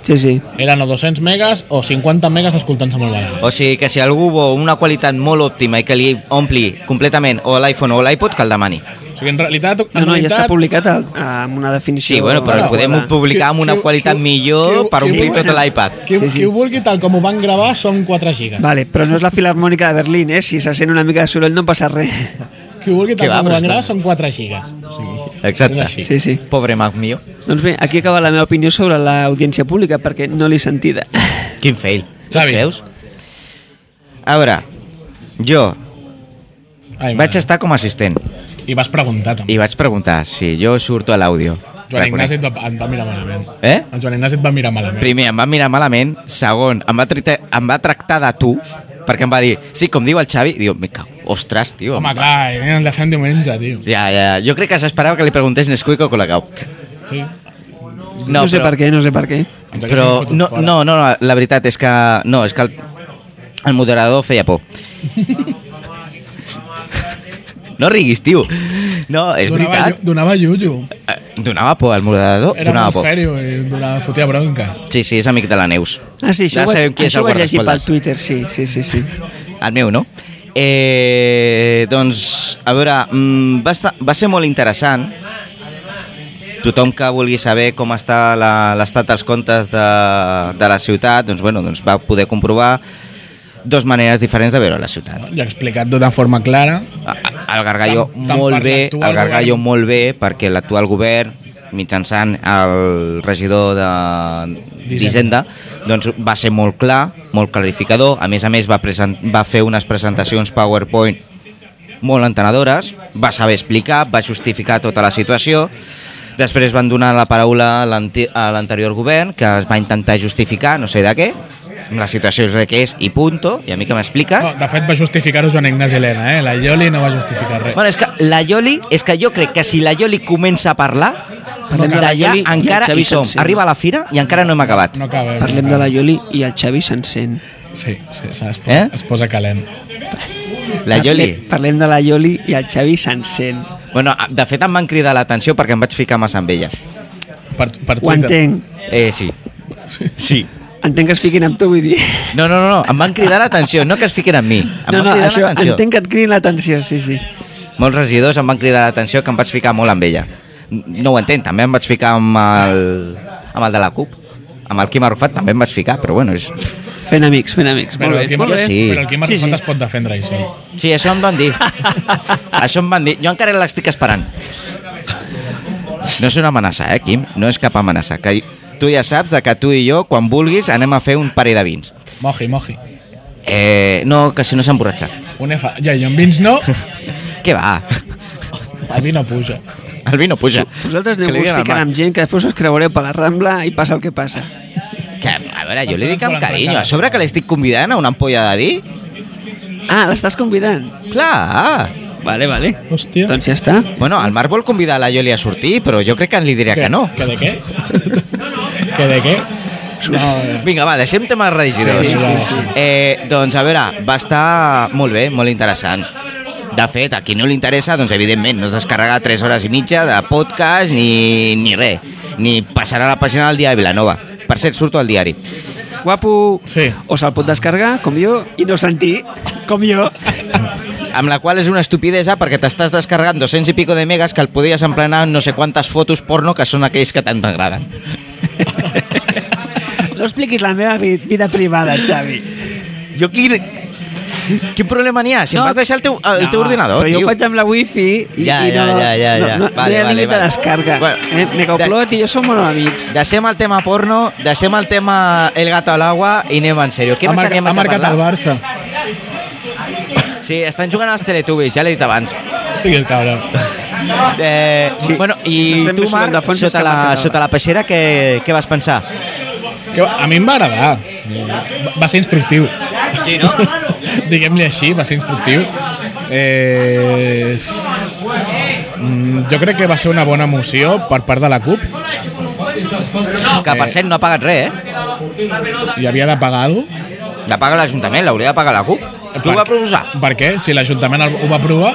sí, sí Eren o 200 megas o 50 megas escoltant-se molt bé. O sigui que si algú vol una qualitat molt òptima i que li ompli completament o l'iPhone o l'iPod, que el demani. O sigui, en realitat... En No, no, ja realitat, està publicat al- amb una definició. Sí, bueno, però Hola, el podem Hola. publicar amb una Qui- qui- qualitat qui- millor qui- per qui- omplir qui- tot l'iPad. Qui, Sí, sí. qui ho vulgui, tal com ho van gravar, són 4 gigas. Vale, però no és la filarmònica de Berlín, eh? Si se sent una mica de soroll no passa res. Qui ho vulgui, Què tal va, com ho però van gravar, està- són 4 gigas. O sigui, Exacte. És així. Sí, sí. Pobre Mac mío. Doncs bé, aquí acaba la meva opinió sobre l'audiència pública, perquè no l'he sentida. Quin fail. Xavi. Creus? A veure, jo Ai, vaig mare. estar com a assistent I vas preguntar, també. i vaig preguntar si jo surto a l'àudio. Joan Ignasi Reconec. et va, et va mirar malament. Eh? El Joan Ignasi et va mirar malament. Primer, em va mirar malament. Segon, em va, trita, em va tractar de tu, perquè em va dir, sí, com diu el Xavi, i diu, me cago, ostres, tio. Home, clar, hem de fer un diumenge, tio. Ja, ja, jo crec que s'esperava que li preguntés Nesquik o Colacau. Sí. No, no sé per què, no sé per què. Ens haguéssim Però fotut no, fora. no, no, no, la veritat és que... No, és que el, el moderador feia por. No riguis, tio. No, és donava, veritat. llu- donava yuyu. Eh, Donava por al moderador, Era donava molt por. sèrio i donava, fotia bronques. Sí, sí, és amic de la Neus. Ah, sí, això ja ho vaig, sabem qui és això el ho vaig llegir pel guardaespoldes. Twitter, sí, sí, sí. sí. El meu, no? Eh, doncs, a veure, mm, va, estar, va ser molt interessant. Tothom que vulgui saber com està la- l'estat dels comptes de, de la ciutat, doncs, bueno, doncs va poder comprovar dos maneres diferents de veure la ciutat. I ha explicat d'una forma clara. A- a- El Gargallo Tant- tant molt per bé, l'actual el Gargallo govern. molt bé, perquè l'actual govern, mitjançant el regidor de- d'Hisenda, doncs va ser molt clar, molt clarificador. A més a més, va, present, va fer unes presentacions PowerPoint molt entenedores, va saber explicar, va justificar tota la situació. Després van donar la paraula a l'anti- a l'anterior govern, que es va intentar justificar, no sé de què, la situació és la que és i punto, i a mi que m'expliques... No, de fet, va justificar-ho Joan Ignasi Helena, eh? La Ioli no va justificar res. Bueno, és que la Yoli, és que jo crec que si la Yoli comença a parlar, Parlem de la d'allà Yoli i el encara Xavi hi som. sencer. Arriba a la fira i encara no hem acabat. No acaba. Parlem de la Ioli i el Xavi s'encén. Sí, sí, s'ha- es, posa, Eh? eh? es posa calent. La Yoli... Parlem- Parlem de la Ioli i el Xavi s'encén. Bueno, de fet em van cridar l'atenció perquè em vaig ficar massa amb ella. Per, per Ho Twitter. entenc. Eh, sí. Sí. Entenc que es fiquin amb tu, vull dir. No, no, no, no, em van cridar l'atenció, no que es fiquen amb mi. Em No, van no, cridar això, l'atenció. entenc que et cridin l'atenció, sí, sí. Molts regidors em van cridar l'atenció que em vaig ficar molt amb ella. No ho entenc, també em vaig ficar amb el, amb el de la CUP. Amb el Quim Arrufat també em vaig ficar, però bueno, és... Fent amics, fent amics. Però molt el bé, Quim, molt bé. sí. però el Quim Sí, Arrasate sí. es pot defendre, això. Sí, això em van dir. això em van dir. Jo encara l'estic esperant. No és una amenaça, eh, Quim? No és cap amenaça. Que tu ja saps de que tu i jo, quan vulguis, anem a fer un parell de vins. Moji, moji. Eh, no, que si no s'emborratxa. Un F. Ja, jo amb vins no, Què va? el vi no puja. El vi no puja. Vosaltres Que li aneu-vos diguin al ficant Marc. amb gent que després us creureu per la Rambla i passa el que passa. Que, a veure, jo li dic Volen amb trencar carinyo. A cara. sobre que l'estic convidant a una ampolla de vi? Ah, l'estàs convidant? Clar. Vale, vale. Hòstia. Doncs ja està. Bueno, el Marc vol convidar la Yoli a sortir, però jo crec que li diré que no. Que de què? que de què? No, Vinga, va, deixem temes religiosos. Sí, sí, sí. Eh, doncs, a veure, va estar molt bé, molt interessant. De fet, a qui no li interessa, doncs, evidentment, no es descarrega 3 hores i mitja de podcast ni, ni res. Ni passarà a la pàgina del diari de Vilanova. Per cert, surto al diari. Guapo, Sí. o se'l pot descarregar, com jo, i no sentir, com jo. Amb la qual és una estupidesa perquè t'estàs descarregant 200 i pico de megas que el podies emplenar en no sé quantes fotos porno que són aquells que tant t'agraden. No expliquis la meva vi- vida privada, Xavi. Jo quin... Quin problema n'hi ha? Si No, em vas deixar el teu, el teu No, ordinador, Però jo tio. ho faig amb la wifi i, Ja, i no, ja, ja, ja, ja. no, no, no Vale, hi ha vale, límit vale. de descarga. Bueno, eh? Megaupload i jo som molt amics. Deixem el tema porno, deixem el tema el gato a l'aigua i anem en sèrio. Què ha, més mar teníem ha que marcat el parlar? Barça. Sí, estan jugant als Teletubbies, ja l'he dit abans. Sigui el cabra. Eh, Sí, bueno, sí, sí, I sempre tu, surt el Marc, Alfons sota que ha marcat la, el sota la peixera, què, què vas pensar? Que a mi em va agradar. Va- Va ser instructiu. Sí, no? Diguem-li així, va ser instructiu. Eh... mm, Jo crec que va ser una bona moció per part de la CUP Que, per cert, no ha pagat res, eh? i havia de pagar alguna cosa. La paga l'Ajuntament, l'hauria de pagar la CUP. Qui ho va proposar? Per què? Si l'Ajuntament el- ho va aprovar,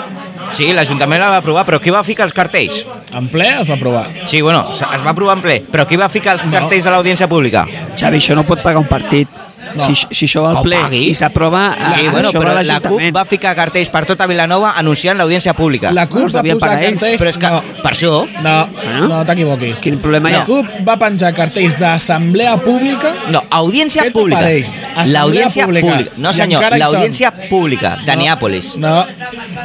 Sí, l'Ajuntament la va aprovar, però qui va ficar els cartells? en ple es va aprovar. Sí, bueno, s- es va aprovar en ple, però qui va ficar els cartells de l'audiència pública? Xavi, això no pot pagar un partit. No. Si, si això va Que ho al ple pagui. i s'aprova, Sí, a- bueno, això va però a la CUP l'Ajuntament. va ficar cartells per tota Vilanova anunciant l'audiència pública. La CUP Bueno, va devien posar pagar ells. cartells... Però és que, No, per això, no, no t'equivoquis. Ah? Quin problema hi La ha? CUP va penjar cartells d'assemblea pública No, audiència Fet pública. apareix. Assemblea L'audiència pública. pública. No, I senyor, encara hi són. l'audiència pública de No, Neàpolis. No,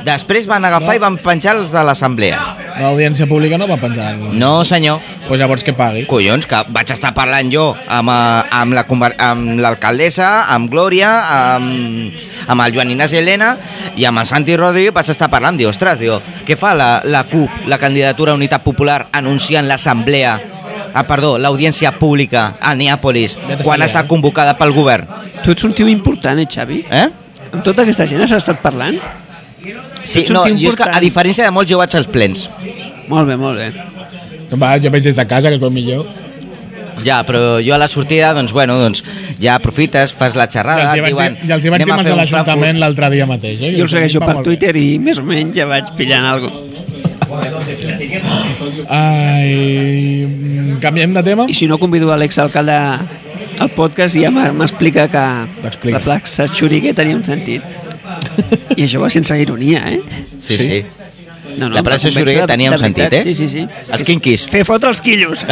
Després van agafar No. i van penjar els de l'assemblea. l'audiència pública no va penjar. No. No, senyor. Pues llavors que pagui. Collons, que vaig estar parlant jo amb, eh, amb la conver- amb l'alcaldessa, amb Glòria, amb, amb el Joan Inés i Helena i amb el Santi Rodríguez vaig estar parlant. Diu, ostres, diu, què fa la, la CUP, la candidatura a Unitat Popular, anunciant l'assemblea Ah, perdó, l'audiència pública a Neàpolis Ja t'estic quan dient, està eh? convocada pel govern. Tu ets un tio important, eh, Xavi? Eh? Amb tota aquesta gent has estat parlant? Sí, Ets un no, tio jo és que a important. diferència de molts jo vaig als plens. Molt bé, molt bé. Va, jo veig des de casa, que és el millor. Ja, però jo a la sortida, doncs, bueno, doncs, ja aprofites, fas la Ah, I xerrada, els hi vaig dir, i els hi vaig "Anem dir a mans fer de un l'Ajuntament l'altre dia mateix. Eh? Jo el segueixo Va per molt bé. Twitter i més o menys ja vaig pillant alguna cosa. Ai, mm, canviem de tema. I si no convido a l'exalcalde al podcast i ja m'ha- m'explica que T'explica. la plaça Xuriguer tenia un sentit. I això va sense ironia, eh? Frankfurt". Sí, sí. No, no, La plaça em va convèncer Xuriguer de- tenia de un sentit, veritat. Sí, eh? sí, sí. Els quinquis. Fer fotre els quillos.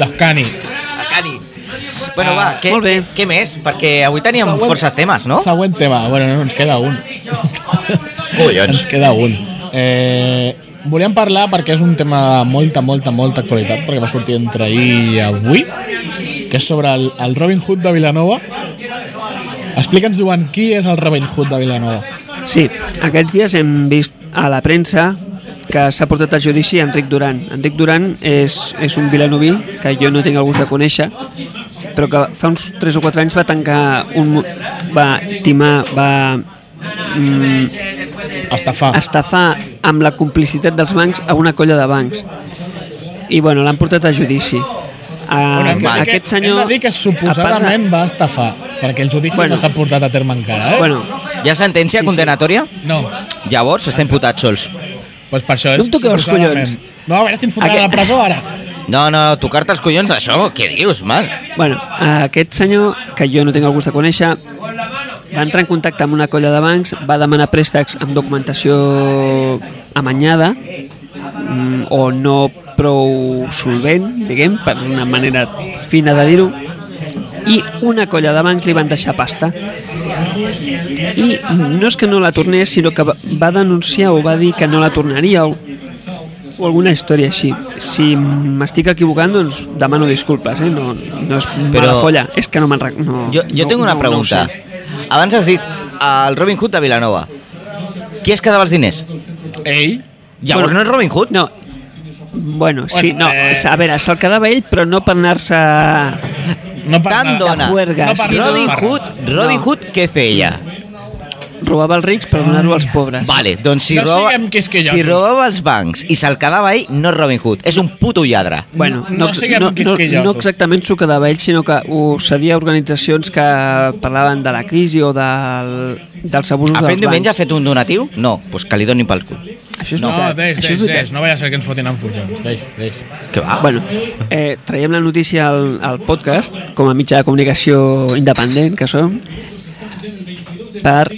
Los cani. Cani. Bueno, va, Ah, què, molt bé. què, què més? Perquè avui teníem Següent. força temes, Oh. no? Següent tema. Bueno, no, ens queda un. ens Collons. queda un. Eh, volíem parlar perquè és un tema de molta, molta, molta actualitat, perquè va sortir entre ahir i avui, que és sobre el, el Robin Hood de Vilanova. Explica'ns, Joan, qui és el Robin Hood de Vilanova? Sí, aquests dies hem vist a la premsa que s'ha portat a judici Enric Duran. Enric Duran és, és un vilanoví que jo no tinc el gust de conèixer, però que fa uns 3 o 4 anys va tancar un... mo- va timar, va mm, Estafar. estafar amb la complicitat dels bancs a una colla de bancs. I bueno, l'han portat a judici. A, Bueno, que- Ah, aquest que senyor... Hem de dir que a part suposadament de- va estafar, perquè el judici Bueno. no s'ha portat a terme encara, eh? Bueno, Hi ha sentència Sí, sí. condenatòria? No, Llavors està imputat sols. doncs per això és... No em toqueu els suposadament. collons. No, a veure si em fotran a la Aquest- presó ara. No, no, tocar-te els collons d'això, què dius, Marc? Bueno, aquest senyor, que jo no tinc el gust de conèixer, va entrar en contacte amb una colla de bancs, va demanar préstecs amb documentació amanyada mm, o no prou solvent, diguem, per una manera fina de dir-ho, i una colla de banc li van deixar pasta i no és que no la tornés sinó que va- va denunciar o va dir que no la tornaria o, o alguna història així si m'estic equivocant doncs demano disculpes eh? no, no és mala Però- folla és que no me'n rec... no, Jo, jo no, tinc una no, pregunta. no ho sé. Abans has dit el Robin Hood de Vilanova. Qui es quedava els diners? Ell? Llavors Bueno, no és Robin Hood? No. Bueno, sí, Bueno, no. eh. A veure, se'l quedava ell, però no per anar-se... No per Tant nada. dona. juerga, sí, no. Robin Hood, Robin No. Hood, què feia? Robava els rics per donar-ho als pobres. Vale, doncs si, No roba, siguem quisquillosos. si robava els bancs i se'l quedava ell, no és Robin Hood, és un puto lladre. Bueno, No- no no, siguem no, no, quisquillosos. no exactament s'ho quedava ell, sinó que ho cedia a organitzacions que parlaven de la crisi o del, dels abusos Ha fet dels diumenge, ha bancs. fet un donatiu? No, doncs que li donin pel cul. Això és No, veritat. deix, Això deix, és veritat. deix. No vaya a ser que ens fotin en fullons. Deix, deix. Que va? Bueno, eh, traiem la notícia al, al podcast, com a mitjà de comunicació independent que som, per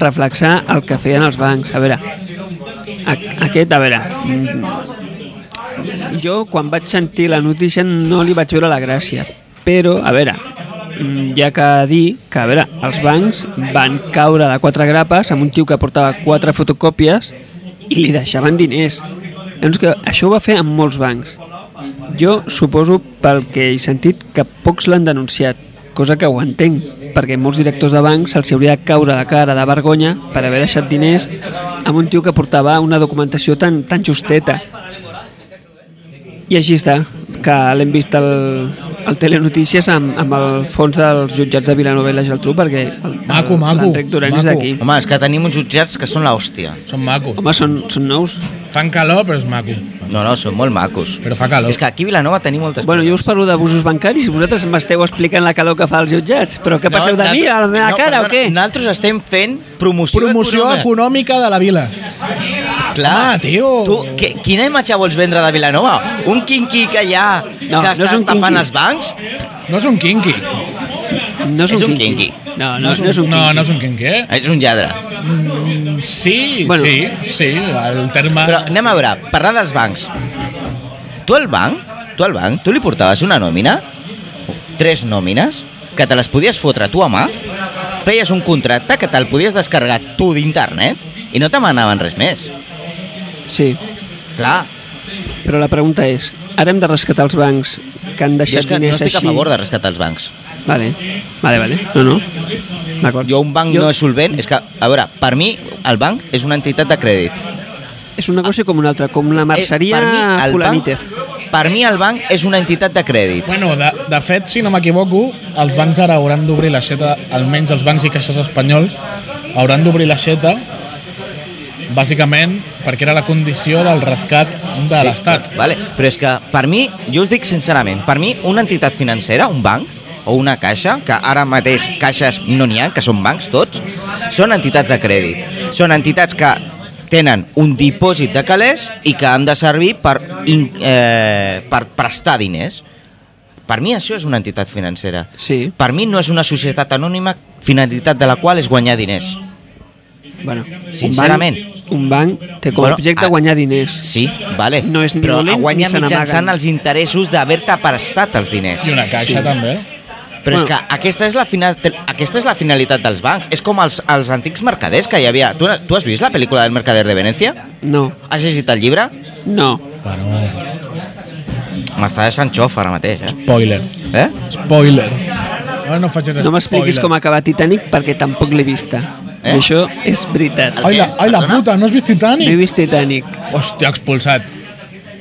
reflexar el que feien els bancs. A veure, a, aquest, a veure... mm, Jo, quan vaig sentir la notícia, no li vaig veure la gràcia. Però, a veure, mm, hi ha que dir que, a veure, els bancs van caure de quatre grapes amb un tio que portava quatre fotocòpies i li deixaven diners. Llavors, que això ho va fer amb molts bancs. Jo suposo, pel que he sentit, que pocs l'han denunciat, cosa que ho entenc, perquè molts directors de bancs se'ls hauria de caure la cara de vergonya per haver deixat diners amb un tio que portava una documentació tan, tan justeta. I així està, que l'hem vist al, al Telenotícies amb, amb el fons dels jutjats de Vilanova i la Geltrú, perquè el- Maco, el- maco, l'Enric Duran és maco. d'aquí. Home, és que tenim uns jutjats que són l'hòstia. Són macos. Home, són, són nous. Fan calor, però és maco. No, no, són molt macos. Però fa calor. És que aquí a Vilanova tenim moltes... Bueno, jo us parlo d'abusos bancaris i vosaltres m'esteu explicant la calor que fa als jutjats, però què passeu de mi a la meva no, cara o perdona, què? Nosaltres estem fent promoció, Promoció econòmica de la vila. Clar, Home, tio. Tu, que, quina imatge vols vendre de Vilanova? Un quinqui que hi ha No, que no està és un estafant quinqui. els bancs? No és un kinky. No és, És un un quinqui. quinqui. No, no, no és un no, quinqui. no és un kinky, eh? És un lladre. Sí, Bueno. sí, sí, el terme... Però anem a veure, parlar dels bancs. Tu al banc, tu al banc, tu li portaves una nòmina, tres nòmines, que te les podies fotre tu a mà, feies un contracte que te'l podies descarregar tu d'internet i no te manaven res més. Sí, Clar, però la pregunta és, ara hem de rescatar els bancs que han jo deixat és que no diners estic així? a favor de rescatar els bancs. Vale, vale, vale. No, no. D'acord. Jo un banc no és solvent, és que, a veure, per mi el banc és una entitat de crèdit. És un negoci com un altre, com la merceria Eh, el Fulanítez. Banc, per mi el banc és una entitat de crèdit. Bueno, de, de fet, si no m'equivoco, els bancs ara hauran d'obrir l'aixeta, almenys els bancs i caixes espanyols, hauran d'obrir l'aixeta bàsicament perquè era la condició del rescat de Sí, l'Estat. Vale. Però és que per mi, jo us dic sincerament, per mi una entitat financera, un banc o una caixa, que ara mateix caixes no n'hi ha, que són bancs tots, són entitats de crèdit. Són entitats que tenen un dipòsit de calés i que han de servir per, in, eh, per prestar diners. Per mi això és una entitat financera. Sí, Per mi no és una societat anònima finalitat de la qual és guanyar diners. bueno. Sincerament. Un banc, un banc té com a Bueno, objecte a- guanyar diners. Sí, vale. No és ni però dolent ni guanya se n'amaguen. mitjançant els interessos d'haver-te prestat els diners. I una caixa Sí. també. Però és Bueno. que aquesta és, la final, aquesta és la finalitat dels bancs. És com els, els antics mercaders que hi havia. Tu, tu has vist la pel·lícula del mercader de Venècia? No, Has llegit el llibre? no. Bueno, M'està deixant xof ara mateix, eh? spoiler. eh? Spoiler. No, no facis No m'expliquis spoiler. com acaba Titanic perquè tampoc l'he vista. Eh? I això és veritat. Ai, la, ai, la Perdona? puta, no has vist No he Titanic? vist Titanic. Hòstia, expulsat.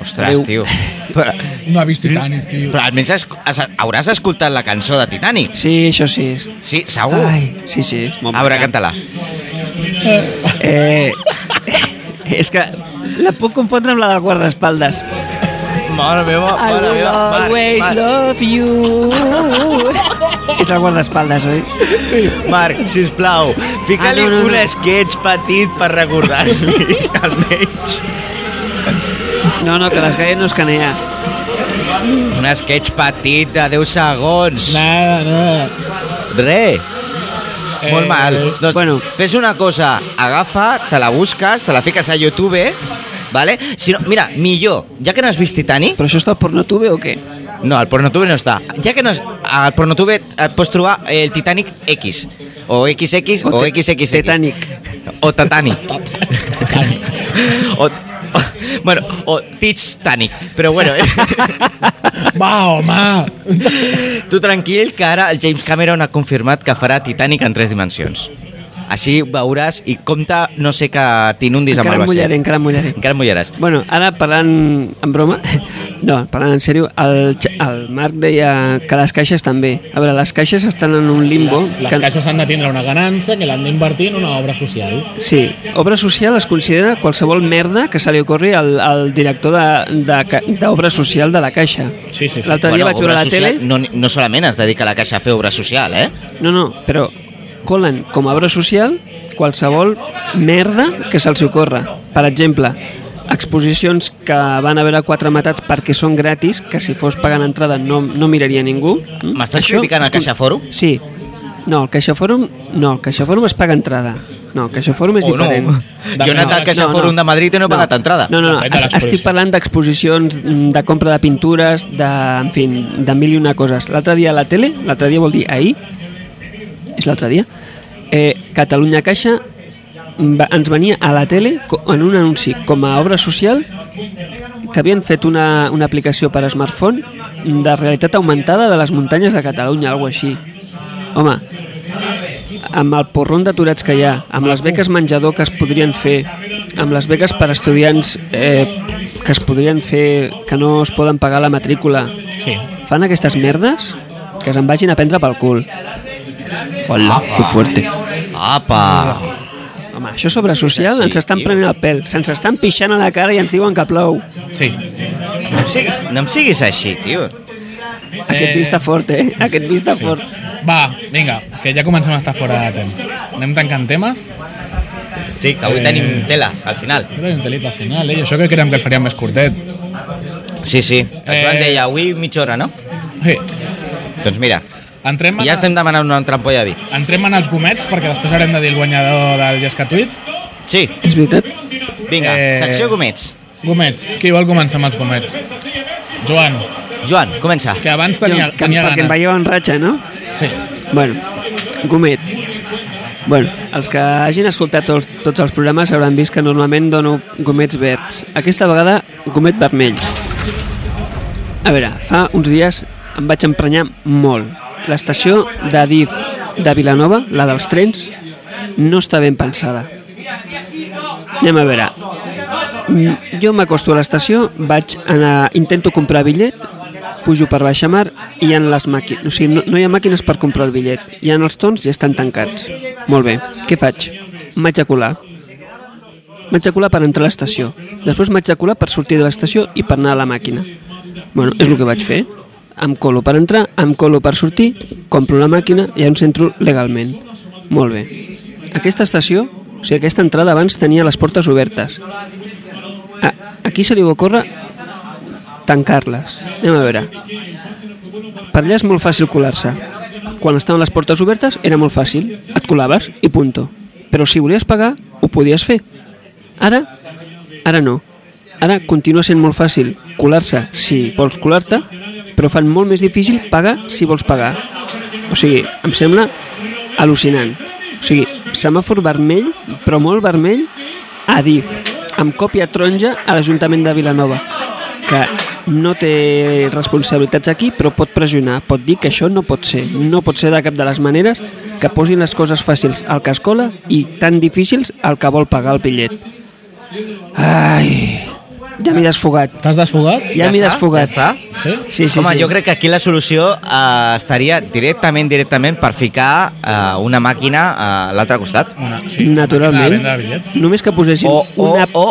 Ostres, Adéu. tio. Però, No ha vist Titanic, tio. però almenys has, has, hauràs escoltat la cançó de Titanic. Sí, això sí. Sí, segur. Ai, sí, sí. és molt A veure, bacán. canta-la. Eh, és que la puc confondre amb la del guardaespaldes. Mare meva, I will always love you. és el guardaespaldes, oi? Marc, sisplau, fica-li Ah, no, no, no. un sketch petit per recordar-li, almenys. No, no, que les gaire no es canea. Un sketch petit de 10 segons. Nada, nada. Re. Eh, Molt mal. Doncs bueno. bueno. fes una cosa, agafa, te la busques, te la fiques a YouTube, vale? Si no, mira, millor, ja que no has vist Titanic, Però això està al pornotube o què? no, al Pornotube no està, ja que no has, al Pornotube et eh, pots trobar el Titanic X, o XX, o, O te- XXX. Titanic. O Titanic. Titanic. o, o, bueno, o Titanic. Però bueno, Va, home! tu tranquil, que ara el James Cameron ha confirmat que farà Titanic en tres dimensions. Així veuràs i compta, no sé que t'inundis amb Encara el em mullaré, vaixell. encara em mullaré. Encara em mullaràs. Bueno, ara parlant en broma, no, parlant en sèrio, el, Xa- el Marc deia que les caixes també. A veure, les caixes estan en un limbo... Les, les que, caixes han de tindre una ganància que l'han d'invertir en una obra social. Sí, obra social es considera qualsevol merda que se li ocorri al, al director de- de ca- d'obra social de la caixa. Sí, sí, sí. L'altre dia vaig veure obra a la social, tele... No, no solament es dedica a la caixa a fer obra social, eh? No, no, però colen com a obra social qualsevol merda que se'ls ocorra. Per exemple, exposicions que van haver a quatre matats perquè són gratis, que si fos pagant entrada no, no miraria ningú. Mm? M'estàs Això- criticant el Caixa Fòrum? Sí. No, el Caixa Fòrum, no, el Caixa Fòrum es paga entrada. No, el Caixa Fòrum és O no. diferent. Jo he anat al Caixa Fòrum de Madrid i no he pagat entrada. No, no, no. Depèn de es- l'exposició. Estic parlant d'exposicions, mm, de compra de pintures, de, en fi, de mil i una coses. L'altre dia a la tele, l'altre dia vol dir ahir, és l'altre dia, eh, Catalunya Caixa mm, va, ens venia a la tele co- en un anunci com a obra social que havien fet una, una aplicació per smartphone mm, de realitat augmentada de les muntanyes de Catalunya, alguna així. Home, amb el porron d'aturats que hi ha, amb les beques menjador que es podrien fer, amb les beques per estudiants eh, que es podrien fer, que no es poden pagar la matrícula, Sí. fan aquestes merdes que se'n vagin a prendre pel cul. Hola, que fuerte. Apa! Home, això sobre social Sí, ens estan tio. prenent el pèl, se'ns estan pixant a la cara i ens diuen que plou. Sí. No em siguis, no em siguis així, tio. Aquest vista fort, eh? Aquest vista Sí. fort. Va, vinga, que ja comencem a estar fora de temps. Anem tancant temes. Sí, que avui Eh. tenim tela, al final. Jo tenia un telit al final, eh? I això que creiem que el faríem més curtet. Sí, sí. El Joan Eh. deia, avui mitja hora, no? Sí. Doncs mira, Entrem, en- ja estem demanant una altra ampolla de vi. entrem en els gomets, perquè després haurem de dir el guanyador del Llescatuit. Sí, És veritat? vinga, Eh. secció gomets. Gomets, qui vol començar amb els gomets? Joan, Joan, comença. que abans Jo, tenia, que, em- tenia perquè em ganes. veieu en ratxa, no? Sí. Bueno, Gomet. Bueno, els que hagin escoltat tots, tots els programes hauran vist que normalment dono gomets verds. Aquesta vegada, gomet vermell. A veure, fa uns dies em vaig emprenyar molt. L'estació de DIF de Vilanova, la dels trens, no està ben pensada. Anem a veure. Mm, Jo m'acosto a l'estació, vaig anar, intento comprar bitllet, pujo per baixa mar i hi ha les màquines, o sigui, no, no hi ha màquines per comprar el bitllet. Hi ha els tons i estan tancats. Molt bé, què faig? Em vaig a colar. Em Vaig a colar per entrar a l'estació. Després em vaig a colar per sortir de l'estació i per anar a la màquina. Bueno, és el que vaig fer. Em colo per entrar, em colo per sortir, compro la màquina i ja em centro legalment. Molt bé. Aquesta estació, o sigui, aquesta entrada abans tenia les portes obertes. A, a qui Ah, se li va ocórrer tancar-les? Anem a veure. Per allà és molt fàcil colar-se. Quan estaven les portes obertes era molt fàcil. Et colaves i punto. Però si volies pagar, ho podies fer. Ara, ara no. Ara continua sent molt fàcil colar-se si vols colar-te, però fan molt més difícil pagar si vols pagar. O sigui, em sembla al·lucinant. O sigui, semàfor vermell, però molt vermell, a DIF, amb còpia taronja a l'Ajuntament de Vilanova, que no té responsabilitats aquí, però pot pressionar, pot dir que això no pot ser. No pot ser de cap de les maneres que posin les coses fàcils al que es cola i tan difícils al que vol pagar el bitllet. Ai, ja m'he desfogat. T'has desfogat? Ja, m'he està? desfogat. Ja està? Sí? Sí, sí, Home, sí. jo crec que aquí la solució eh, estaria directament, directament per ficar eh, una màquina a l'altre costat. Una, sí. Una Naturalment. venda de bitllets. Només que posessin O, o, una... o,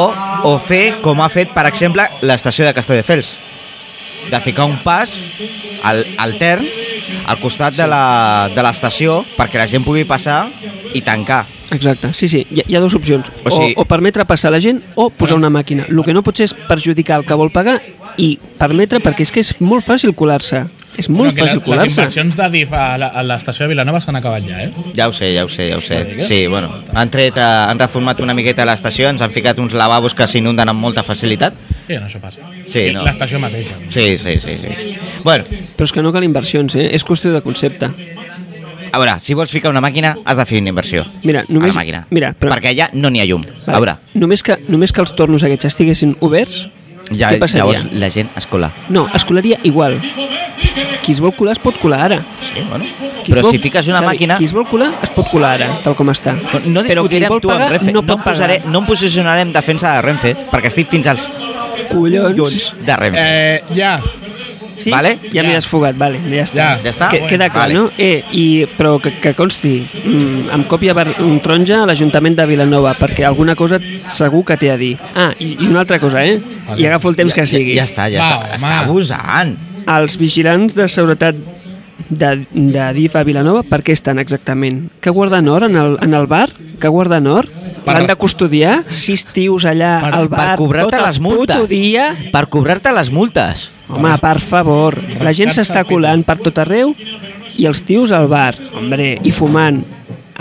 o, o fer com ha fet, per exemple, l'estació de Castelldefels. De ficar un pas al, altern al costat de la- de l'estació perquè la gent pugui passar i tancar. Exacte, sí, sí, hi ha, hi ha dues opcions. O O, sigui- Eh. o, o permetre passar la gent o posar una màquina. El que no pots és perjudicar el que vol pagar i permetre, perquè és que és molt fàcil colar-se. És molt que la- fàcil les colar-se. inversions d'Adif a la- a l'estació de Vilanova s'han acabat ja, eh? Ja ho sé, ja ho sé, ja ho sé. Vinga. Sí, bueno, han tret, eh, han reformat una miqueta l'estació, ens han ficat uns lavabos que s'inunden amb molta facilitat. Sí, no, això passa. Sí, I no. L'estació mateixa. Sí, sí, sí, sí. Bueno, Però és que no cal inversions, eh? és qüestió de concepte. a veure, si vols ficar una màquina, has de fer una inversió. Mira, a només- la màquina. mira, però- Perquè allà no n'hi ha llum. A veure, Només que, només que els tornos aquests estiguessin oberts, ja, què passaria? llavors la gent es cola. No, es colaria igual. Qui es vol colar es pot colar ara. Sí, bueno. Qui es Però vol, si fiques una Xavi, màquina... Qui es vol colar es pot colar ara, tal com està. No discutiré amb tu, amb Renfe. no No, pot em posaré, pagar. no em posicionaré en defensa de Renfe, perquè estic fins als collons Collons. de Renfe. Eh, ja, Sí? Vale? Ja Ja. m'hi has fugat, vale, ja està. Ja. Ja està? Que, Bueno, queda clar, vale. no? Eh, i, però que, que consti, mm, em copia bar, un taronja a l'Ajuntament de Vilanova, perquè alguna cosa segur que té a dir. Ah, i, i una altra cosa, eh? Vale. I agafo el temps que sigui. Ja, ja està, ja Va, està. Està home. abusant. Els vigilants de seguretat de, de DIF a Vilanova, per què estan exactament? Que guarden or en el, en el bar? Que guarden or? Per L'han de res- custodiar? Sis tios allà Per- al bar per cobrar-te tot el les multes. puto dia? Per cobrar-te les multes. Home, per favor, la gent rascar-se s'està el pito. colant per tot arreu i els tios al bar, hombre, i fumant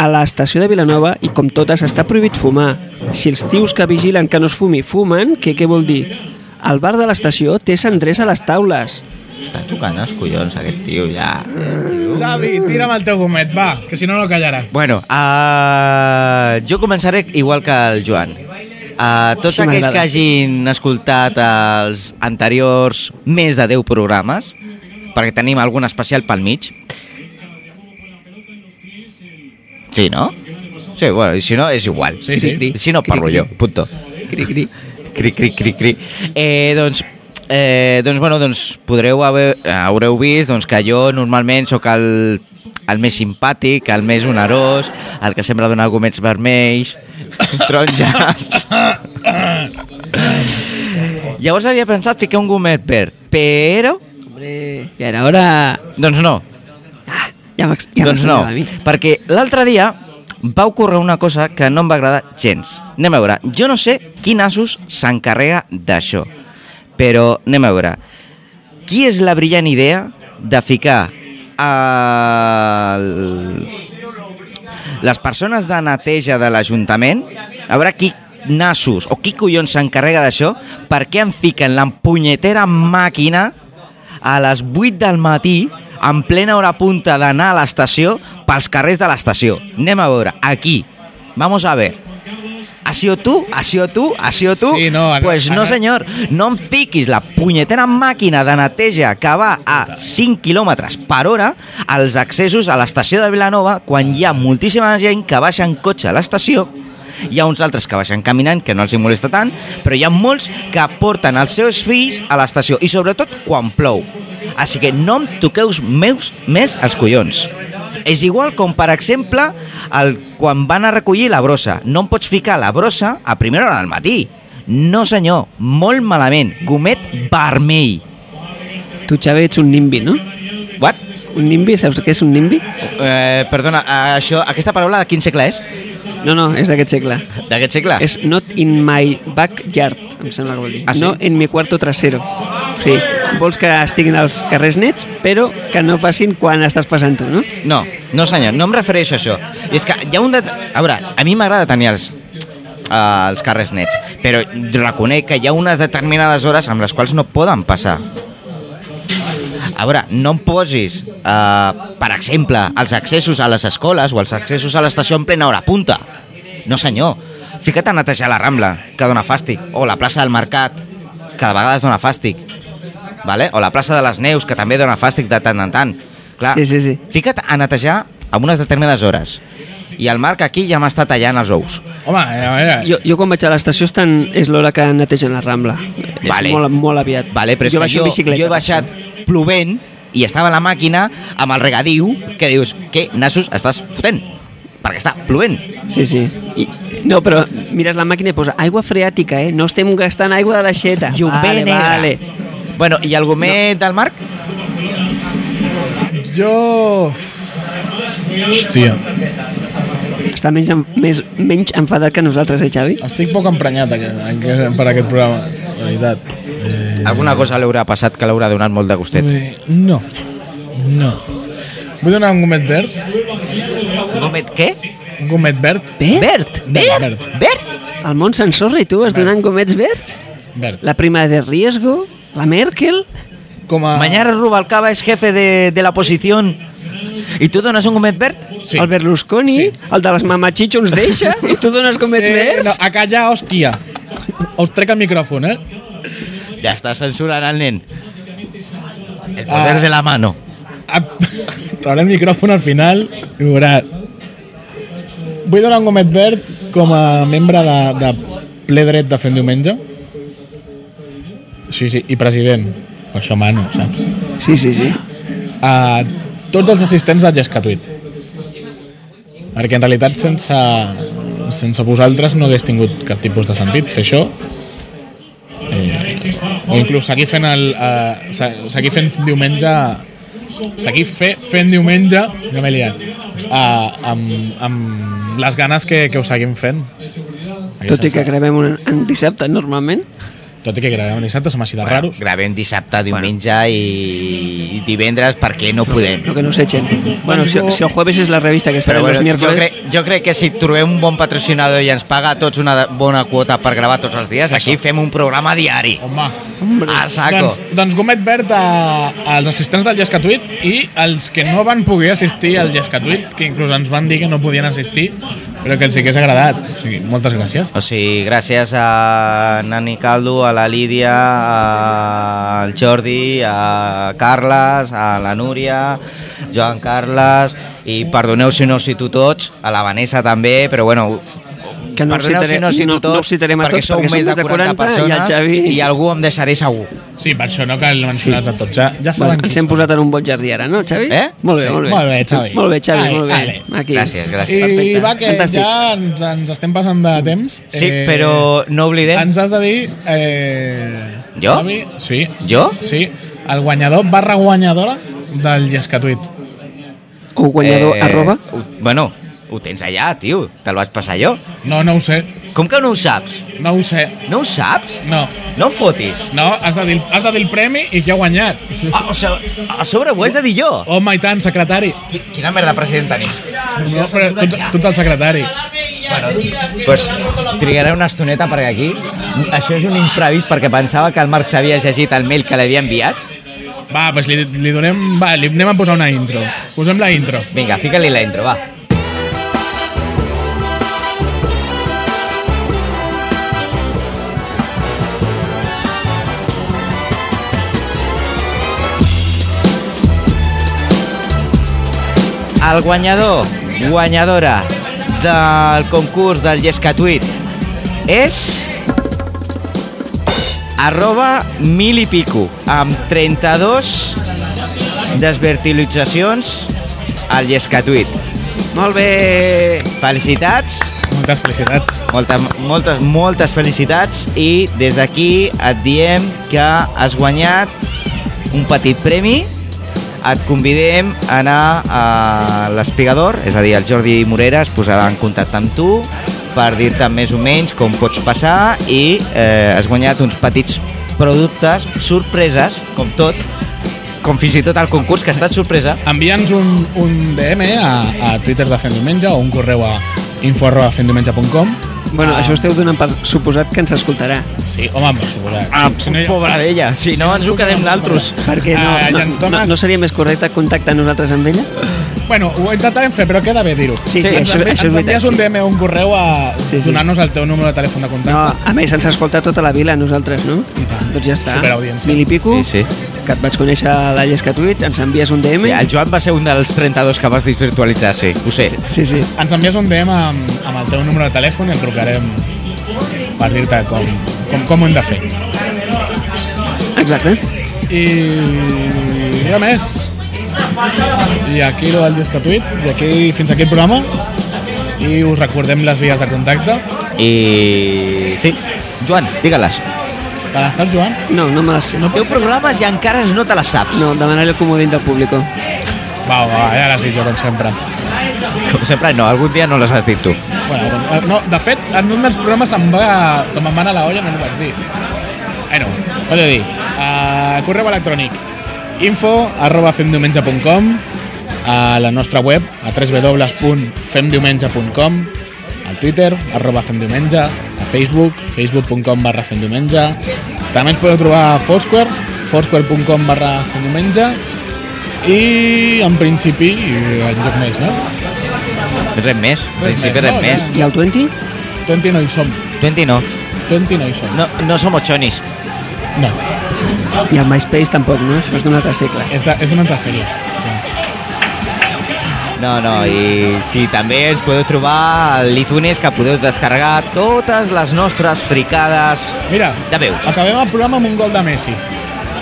a l'estació de Vilanova i com totes està prohibit fumar. Si els tios que vigilen que no es fumi fumen, què, què vol dir? El bar de l'estació té cendrers a les taules. Està tocant els collons, aquest tio, ja. Xavi, tira'm el teu gomet, va, que si no no callaràs. Bueno, uh, jo començaré igual que el Joan. Uh, tots Sí, aquells m'agrada. que hagin escoltat els anteriors més de 10 programes, perquè tenim algun especial pel mig. Sí, no? Sí, bueno, i si no, és igual. Sí, sí. Cri, cri. Si no, parlo Cri, jo, cri. punto. Cri, cri. Cri, cri, cri, cri. Eh, doncs, eh, doncs, bueno, doncs podreu haver, haureu vist doncs, que jo normalment sóc el, el més simpàtic, el més onerós, el que sembla donar gomets vermells, taronges... Llavors havia pensat ficar un gomet verd, però... Hombre, i ara hora... Doncs no, Ja m'ex- ja doncs no, m'extrañava a mi. perquè l'altre dia va ocórrer una cosa que no em va agradar gens. Anem a veure, jo no sé quin Asus s'encarrega d'això, però anem a veure. Qui és la brillant idea de ficar el... les persones de neteja de l'Ajuntament, a veure qui nassos o qui collons s'encarrega d'això, per què en fiquen la punyetera màquina a les 8 del matí en plena hora punta d'anar a l'estació pels carrers de l'estació. Anem a veure, aquí. Vamos a ver. ¿Has sido tú? ¿Has sido tú? ¿Has sido tú? Sí, no, ara- pues no, ara- senyor. No em fiquis la punyetera màquina de neteja que va a 5 quilòmetres per hora als accessos a l'estació de Vilanova quan hi ha moltíssima gent que baixa en cotxe a l'estació hi ha uns altres que baixen caminant, que no els hi molesta tant, però hi ha molts que porten els seus fills a l'estació, i sobretot quan plou. Així que no em toqueu meus més els collons. És igual com, per exemple, el, quan van a recollir la brossa. No em pots ficar la brossa a primera hora del matí. No, senyor, molt malament. Gomet vermell. Tu, Xavi, ets un nimbi, no? What? Un nimbi, saps què és un nimbi? Eh, perdona, eh, això, aquesta paraula de quin segle és? No, no, és d'aquest segle. D'aquest segle? És not in my backyard, em sembla que vol dir. Ah, sí? No en mi cuarto trasero. Sí, vols que estiguin als carrers nets, però que no passin quan estàs passant tu, no? No, no senyor, no em refereixo a això. I és que hi ha un... Det... A veure, a mi m'agrada tenir els, eh, els carrers nets, però reconec que hi ha unes determinades hores amb les quals no poden passar. A veure, no em posis, eh, per exemple, els accessos a les escoles o els accessos a l'estació en plena hora punta. No, senyor. Fica't a netejar la Rambla, que dona fàstic, o la plaça del Mercat, que de vegades dona fàstic, vale? o la plaça de les Neus, que també dona fàstic de tant en tant. Clar, Sí, sí, sí. fica't a netejar a unes determinades hores. I el Marc aquí ja m'està tallant els ous. Home, eh, a veure... Jo, jo quan vaig a l'estació estan, és l'hora que netegen la Rambla. Vale. És molt, molt aviat. Vale, però és jo que baixo en jo, bicicleta. jo he baixat plovent i estava a la màquina amb el regadiu que dius, què, nassos, estàs fotent? Perquè està plovent. Sí, sí. I, no, però mires la màquina i posa aigua freàtica, eh? No estem gastant aigua de l'aixeta. I un vale, negre. vale. Bueno, i el gomet del Marc? Eh. Jo... Hòstia. està menys, en- més, menys enfadat que nosaltres, eh, Xavi? Estic poc emprenyat aquest, aquest, per aquest programa, la veritat. Eh, Alguna cosa l'haurà passat que l'haurà donat molt de Mm. gustet. eh, no, no. Vull donar un gomet verd. Gomet què? Un gomet verd. Verd. Verd. Verd. Verd. El món s'ensorra i tu vas donant gomets verds? Verd. La prima de riesgo? La Merkel? Com Ah. a... Mañana Rubalcaba es jefe de, de la posición. ¿Y tú donas un gomet verd? Sí. El Sí. Berlusconi? El de les mamachitxo ens deixa? I tu dones gomets verds? No, a callar, hòstia. Us trec el micròfon, eh? Ya está censurando al nen. El poder Ah. de la mano. Ap- Trauré el micròfon al final i ho veurà. Vull donar un gomet verd com a membre de, de ple dret de fent diumenge. Sí, sí, i president. Per això mano, saps? Sí, sí, sí. A tots els assistents del Gescatuit. Perquè en realitat sense, sense vosaltres no hagués tingut cap tipus de sentit fer això. Eh, o inclús seguir fent, el, eh, se- seguir fent diumenge seguir fe, fent diumenge ja m'he liat eh, amb, amb les ganes que, que ho seguim fent Tot i que gravem un, un dissabte, normalment. tot i que gravem dissabte som així de raros Gravem dissabte, diumenge i, i divendres perquè no podem. Lo que nos echen. Bueno, si, si el jueves és la revista que Doncs Però serà bueno, els jo, miércoles... crec, jo crec que si trobem un bon patrocinador i ens paga a tots una bona quota per gravar tots els dies, aquí fem un programa diari. home A saco. doncs, doncs gomet verd a, als assistents del Llescatuit i als que no van poder assistir al Llescatuit que inclús ens van dir que no podien assistir però que els hagués agradat o sigui, moltes gràcies O sigui, gràcies a Nani Caldo, a la Lídia, a- al Jordi, a Carles, a la Núria, Joan Carles, i perdoneu si no us cito tots, a la Vanessa també, però bueno, Que no us perdoneu citaré- si no us cito no- tots, no us citarem a perquè tots, sou perquè som més més de 40 i el persones Xavi- i algú em deixaré segur. sí, per això no cal mencionar sí. a tots ja, ja saben Bueno, ens qui hem posat en un bon jardí ara, no, Xavi? Eh? Molt bé, Sí. molt bé. Molt bé, Xavi. Molt bé, Xavi, Vale, molt bé. vale. Aquí. Gràcies, gràcies. I Perfecte. va, que Fantàstic. ja ens, ens estem passant de temps. Eh, Sí, Eh, però no oblidem... Ens has de dir... Eh, Jo? Xavi, sí, Jo? sí. El guanyador barra guanyadora del Llescatuit. O guanyador Eh, arroba. ho- Bueno, ho tens allà, tio, te'l vas passar jo. No, no ho sé. Com que no ho saps? No ho sé. No ho saps? No. No em fotis. No, has de dir, has de dir el premi i qui ha guanyat. Sí. Ah, o sigui, a sobre ho has de dir jo. Home, i tant, secretari. Oh, Quina merda president tenim? No, però tu, tu ets el secretari. Pues trigaré una estoneta perquè aquí això és un imprevist perquè pensava que el Marc s'havia llegit el mail que l'havia enviat. Va, doncs li, li donem... Va, li anem a posar una intro. Posem la intro. Vinga, fica-li la intro, va. El guanyador, guanyadora del concurs del Llescatuit és arroba mil i pico amb 32 desvertilitzacions al Llescatuit. Molt bé. Felicitats, Moltes felicitats. moltes, moltes, moltes felicitats i des d'aquí et diem que has guanyat un petit premi. Et convidem a anar a l'Espigador, és a dir, el Jordi Morera es posarà en contacte amb tu per dir-te més o menys com pots passar i eh, has guanyat uns petits productes, sorpreses, com tot, com fins i tot el concurs, que ha estat sorpresa. Envia'ns un, un DM a, a Twitter de Fent Diumenge o un correu a info.fentdiumenge.com Bueno, això esteu donant per suposat que ens escoltarà. Sí, home, per suposar. Ah, pobra d'ella, si no ens ho quedem naltros. Perquè no, Ah, ja no, ens no, dones- no seria més correcte contactar nosaltres amb ella? Bueno, ho intentarem fer, però queda bé dir-ho. Sí, sí, ens, això- envi- això és ens envies veritat, un sí. DM o un correu a Sí, sí. donar-nos el teu número de telèfon de No, contacte. a més, ens escolta tota la vila, nosaltres, no? Doncs ja està. Superaudiència. Mil i pico, Sí, sí. que et vaig conèixer a la Llesca Twitch, ens envies un DM. Sí, el Joan va ser un dels 32 que vas desvirtualitzar, sí, ho sé. sí, sí. Ens envies un DM amb, amb el teu número de telèfon i el trucarem per dir-te com, com, com ho hem de fer. Exacte. I res més. I aquí lo del Discatuit, i aquí fins aquí el programa. I us recordem les vies de contacte. I... sí. Joan, digue-les. Te la saps, Joan? No, no me la sé. No Teu programes i encara no te les saps. No, demanaré el comodín del públic. Va, va, ja l'has dit jo, com sempre. Com sempre, no, algun dia no les has dit tu. Bueno, doncs, eh, no, de fet, en un dels programes se'm va, se me'n va anar la olla, no ho vaig dir. Bueno, ho he de dir. Uh, correu electrònic info arroba femdiumenge.com a la nostra web a www.femdiumenge.com al Twitter, arroba femdiumenge a Facebook, facebook.com barra femdiumenge també ens podeu trobar a Foursquare foursquare.com barra femdiumenge i en principi enlloc més, no? Res més, en principi res no, més. I el 20? 20 no hi som, 20 no. 20 no hi som No, no som ochonis. no. I el MySpace tampoc, no? Això és d'un altre segle. És, de, és una altra sèrie. No, no, i sí, també ens podeu trobar a l'iTunes que podeu descarregar totes les nostres fricades. Mira, De veu. acabem el programa amb un gol de Messi.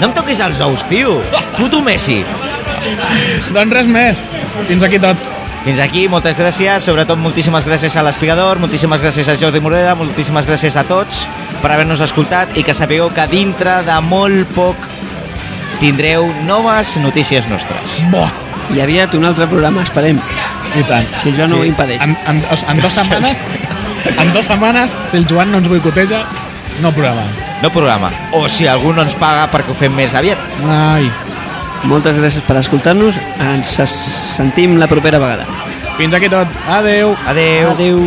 No em toquis els ous, tio! Puto Messi! Doncs res més. Fins aquí tot. Fins aquí, moltes gràcies, sobretot moltíssimes gràcies a l'Espigador, moltíssimes gràcies a Jordi Morera, moltíssimes gràcies a tots per haver-nos escoltat i que sapigueu que dintre de molt poc tindreu noves notícies nostres. Bo. I aviat un altre programa, esperem. I tant. Si jo no ho impedeix. En, en, dos- en dues setmanes, en dues setmanes, si el Joan no ens boicoteja, no programa. No programa. O si algú no ens paga perquè ho fem més aviat. Ai. Moltes gràcies per escoltar-nos. Ens sentim la propera vegada. Fins aquí tot. Adeu. Adeu. Adeu.